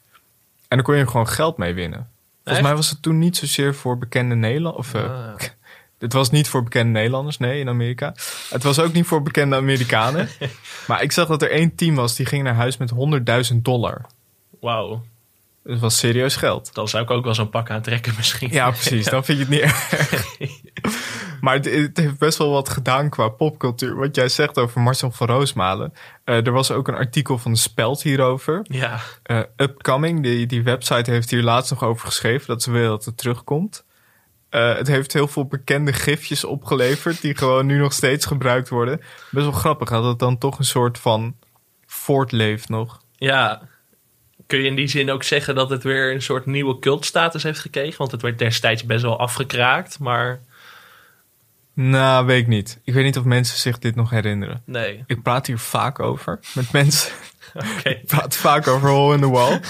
[SPEAKER 3] En daar kon je gewoon geld mee winnen. Volgens
[SPEAKER 4] Echt?
[SPEAKER 3] mij was het toen niet zozeer voor bekende Nederlanders. Of, eh,
[SPEAKER 4] Ah.
[SPEAKER 3] Het was niet voor bekende Nederlanders, nee, in Amerika. Het was ook niet voor bekende Amerikanen. maar ik zag dat er één team was die ging naar huis met 100.000 dollar.
[SPEAKER 4] Wauw,
[SPEAKER 3] Dat was serieus geld.
[SPEAKER 4] dan zou ik ook wel zo'n pak aantrekken misschien.
[SPEAKER 3] Ja, precies. Dan vind je het niet erg. Maar het, het heeft best wel wat gedaan qua popcultuur. Wat jij zegt over Marcel van Roosmalen. Eh, er was ook een artikel van de Speld hierover.
[SPEAKER 4] Ja,
[SPEAKER 3] Eh, Upcoming, die, die website heeft hier laatst nog over geschreven. Dat ze willen dat het terugkomt. Eh, het heeft heel veel bekende gifjes opgeleverd. Die gewoon nu nog steeds gebruikt worden. Best wel grappig dat het dan toch een soort van voortleeft nog.
[SPEAKER 4] Ja, kun je in die zin ook zeggen dat het weer een soort nieuwe cultstatus heeft gekregen? Want het werd destijds best wel afgekraakt, maar
[SPEAKER 3] Nou, weet ik niet. Ik weet niet of mensen zich dit nog herinneren.
[SPEAKER 4] nee.
[SPEAKER 3] Ik praat hier vaak over met mensen.
[SPEAKER 4] Oké.
[SPEAKER 3] Ik praat vaak over Hole in the Wall.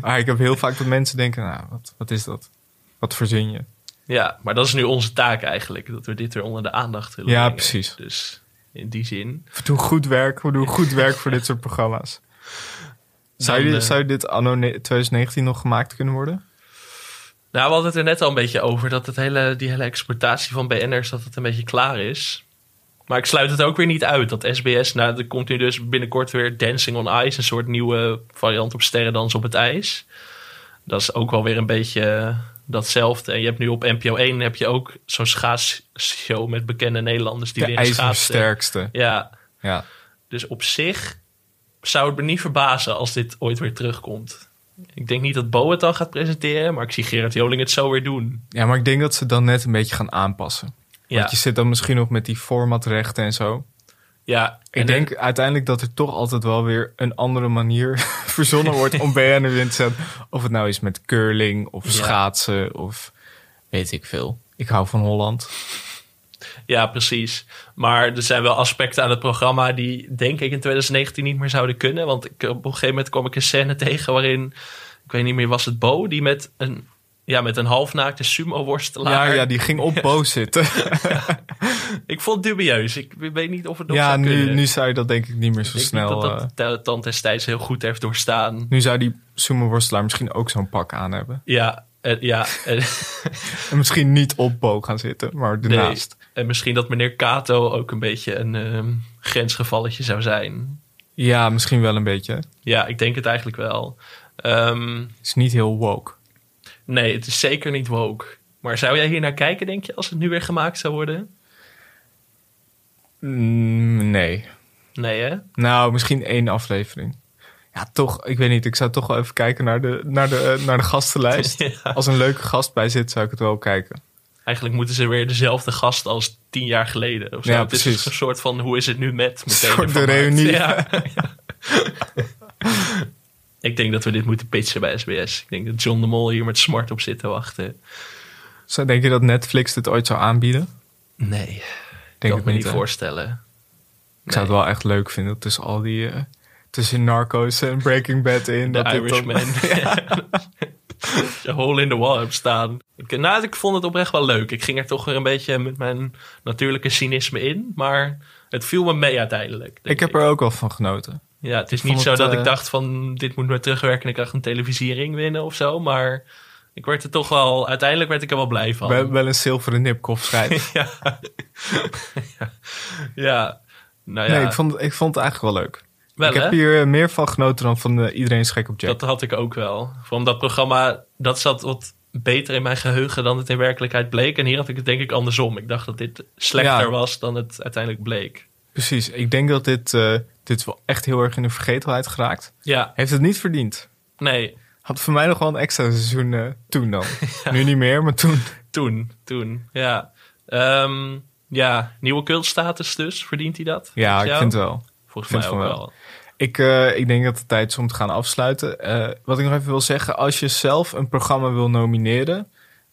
[SPEAKER 3] Maar ik heb heel vaak dat mensen denken, nou, wat, wat is dat? Wat verzin je?
[SPEAKER 4] Ja, maar dat is nu onze taak eigenlijk, dat we dit weer onder de aandacht willen
[SPEAKER 3] Ja,
[SPEAKER 4] brengen.
[SPEAKER 3] precies.
[SPEAKER 4] Dus in die zin.
[SPEAKER 3] We doen goed werk, we doen goed werk voor dit soort programma's. Zou,
[SPEAKER 4] Dan,
[SPEAKER 3] je,
[SPEAKER 4] eh,
[SPEAKER 3] zou dit anno ne- 2019 nog gemaakt kunnen worden?
[SPEAKER 4] Nou, we hadden het er net al een beetje over, dat het hele, die hele exploitatie van BN'ers, dat het een beetje klaar is. Maar ik sluit het ook weer niet uit, dat SBS, nou, er komt nu dus binnenkort weer Dancing on Ice, een soort nieuwe variant op Sterrendans op het ijs. Dat is ook wel weer een beetje eh, datzelfde. En je hebt nu op NPO 1 heb je ook zo'n schaatsshow met bekende Nederlanders die
[SPEAKER 3] De
[SPEAKER 4] weer schaatsen.
[SPEAKER 3] ijzersterkste.
[SPEAKER 4] Ja,
[SPEAKER 3] Ja.
[SPEAKER 4] dus op zich zou het me niet verbazen als dit ooit weer terugkomt. Ik denk niet dat Bo het dan gaat presenteren, maar ik zie Gerard Joling het zo weer doen.
[SPEAKER 3] ja, maar ik denk dat ze dan net een beetje gaan aanpassen.
[SPEAKER 4] Ja,
[SPEAKER 3] Want je zit dan misschien nog met die formatrechten en zo.
[SPEAKER 4] ja.
[SPEAKER 3] Ik
[SPEAKER 4] En eh,
[SPEAKER 3] denk uiteindelijk dat er toch altijd wel weer een andere manier verzonnen wordt om BN'er in te zetten. Of het nou is met curling of schaatsen of weet ik veel. Ik hou van Holland.
[SPEAKER 4] Ja, precies. Maar er zijn wel aspecten aan het programma die denk ik in 2019 niet meer zouden kunnen. Want ik, op een gegeven moment kwam ik een scène tegen waarin, ik weet niet meer, was het Bo die met een Ja, met een halfnaakte
[SPEAKER 3] Ja,
[SPEAKER 4] sumo-worstelaar.
[SPEAKER 3] ja, die ging op boos zitten.
[SPEAKER 4] Ik vond het dubieus. Ik weet niet of het nog
[SPEAKER 3] ja,
[SPEAKER 4] zou
[SPEAKER 3] nu,
[SPEAKER 4] kunnen.
[SPEAKER 3] nu zou je dat denk ik niet meer zo
[SPEAKER 4] Ik
[SPEAKER 3] snel...
[SPEAKER 4] denk
[SPEAKER 3] eh,
[SPEAKER 4] dat dat uh, Tand destijds heel goed heeft doorstaan.
[SPEAKER 3] nu zou die sumo-worstelaar misschien ook zo'n pak aan hebben.
[SPEAKER 4] Ja, eh, ja eh,
[SPEAKER 3] En misschien niet op Bo gaan zitten, maar
[SPEAKER 4] nee.
[SPEAKER 3] ernaast.
[SPEAKER 4] En misschien dat meneer Kato ook een beetje een ehm, grensgevalletje zou zijn.
[SPEAKER 3] Ja, misschien wel een beetje.
[SPEAKER 4] Ja, ik denk het eigenlijk wel. Ehm,
[SPEAKER 3] Is niet heel woke.
[SPEAKER 4] nee, het is zeker niet woke. Maar zou jij hier naar kijken, denk je, als het nu weer gemaakt zou worden?
[SPEAKER 3] Mm, nee.
[SPEAKER 4] Nee, hè?
[SPEAKER 3] Nou, misschien één aflevering. Ja, toch. Ik weet niet. Ik zou toch wel even kijken naar de, naar de, eh, naar de gastenlijst.
[SPEAKER 4] Ja.
[SPEAKER 3] Als een leuke gast bij zit, zou ik het wel kijken.
[SPEAKER 4] Eigenlijk moeten ze weer dezelfde gast als tien jaar geleden. Of zo.
[SPEAKER 3] Ja,
[SPEAKER 4] het is
[SPEAKER 3] precies.
[SPEAKER 4] een soort van hoe is het nu met? meteen
[SPEAKER 3] soort
[SPEAKER 4] ervan
[SPEAKER 3] de
[SPEAKER 4] maakt.
[SPEAKER 3] reunie.
[SPEAKER 4] Ja. Ik denk dat we dit moeten pitchen bij SBS. Ik denk dat John de Mol hier met smart op zit te wachten.
[SPEAKER 3] Zou, denk je dat Netflix dit ooit zou aanbieden?
[SPEAKER 4] Nee, ik
[SPEAKER 3] Denk
[SPEAKER 4] kan
[SPEAKER 3] ik
[SPEAKER 4] me niet
[SPEAKER 3] hè?
[SPEAKER 4] voorstellen.
[SPEAKER 3] Ik zou het wel echt leuk vinden tussen al die... eh, tussen Narcos en Breaking Bad in.
[SPEAKER 4] De
[SPEAKER 3] dat dit dan-
[SPEAKER 4] Irishman. Een hole in the wall hebt staan. Ik, nou, ik vond het oprecht wel leuk. Ik ging er toch weer een beetje met mijn natuurlijke cynisme in. Maar het viel me mee uiteindelijk.
[SPEAKER 3] ik
[SPEAKER 4] denk
[SPEAKER 3] heb er ook wel van genoten.
[SPEAKER 4] Ja, het is
[SPEAKER 3] vond
[SPEAKER 4] niet zo
[SPEAKER 3] het,
[SPEAKER 4] dat
[SPEAKER 3] eh,
[SPEAKER 4] ik dacht van dit moet me terugwerken en ik krijg een televisiering winnen of zo. Maar ik werd er toch wel, uiteindelijk werd ik er wel blij van.
[SPEAKER 3] We hebben wel een zilveren nipkoff schrijven.
[SPEAKER 4] ja. ja. Nou ja,
[SPEAKER 3] Nee, ik vond, ik vond het eigenlijk wel leuk.
[SPEAKER 4] Wel,
[SPEAKER 3] ik heb
[SPEAKER 4] hè?
[SPEAKER 3] hier eh, meer van genoten dan van eh, Iedereen is gek op Jack.
[SPEAKER 4] dat had ik ook wel. Van dat programma, dat zat wat beter in mijn geheugen dan het in werkelijkheid bleek. En hier had ik het denk ik andersom. Ik dacht dat dit slechter
[SPEAKER 3] Ja.
[SPEAKER 4] was dan het uiteindelijk bleek.
[SPEAKER 3] Precies. Ik denk dat dit, eh, dit wel echt heel erg in de vergetelheid geraakt.
[SPEAKER 4] Ja,
[SPEAKER 3] Heeft het niet verdiend.
[SPEAKER 4] nee,
[SPEAKER 3] Had voor mij nog wel een extra seizoen eh, toen dan. Nu niet meer, maar toen.
[SPEAKER 4] toen, toen, ja. Ehm, ja, nieuwe cultstatus dus, verdient hij dat?
[SPEAKER 3] Ja,
[SPEAKER 4] Volgens
[SPEAKER 3] ik
[SPEAKER 4] jou?
[SPEAKER 3] vind het wel.
[SPEAKER 4] Volgens
[SPEAKER 3] vind
[SPEAKER 4] mij ook
[SPEAKER 3] van wel.
[SPEAKER 4] wel.
[SPEAKER 3] Ik, eh, ik denk dat het tijd is om te gaan afsluiten. Eh, wat ik nog even wil zeggen, als je zelf een programma wil nomineren,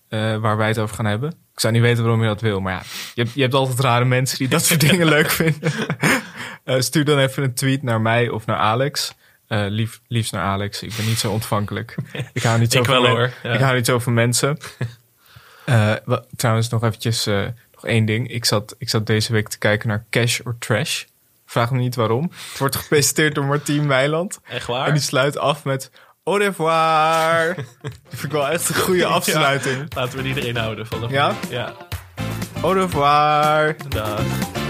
[SPEAKER 3] eh, waar wij het over gaan hebben. Ik zou niet weten waarom je dat wil, maar ja, je, hebt- je hebt altijd rare mensen die dat soort dingen leuk vinden. Eh, stuur dan even een tweet naar mij of naar Alex. Eh, lief, liefst naar Alex. Ik ben niet zo ontvankelijk. Ik hou niet zo,
[SPEAKER 4] Ik
[SPEAKER 3] van,
[SPEAKER 4] wel,
[SPEAKER 3] men-
[SPEAKER 4] hoor. Ja.
[SPEAKER 3] Ik hou niet zo van mensen. Eh, wa- trouwens, nog eventjes eh, nog één ding. Ik zat, ik zat deze week te kijken naar Cash or Trash. Vraag me niet waarom. Het wordt gepresenteerd door Martien Weiland.
[SPEAKER 4] Echt waar?
[SPEAKER 3] En die sluit af met au revoir. Dat vind ik wel echt een goede afsluiting.
[SPEAKER 4] Laten we die erin houden vanaf
[SPEAKER 3] Ja?
[SPEAKER 4] nu. Ja.
[SPEAKER 3] Au revoir.
[SPEAKER 4] Dag.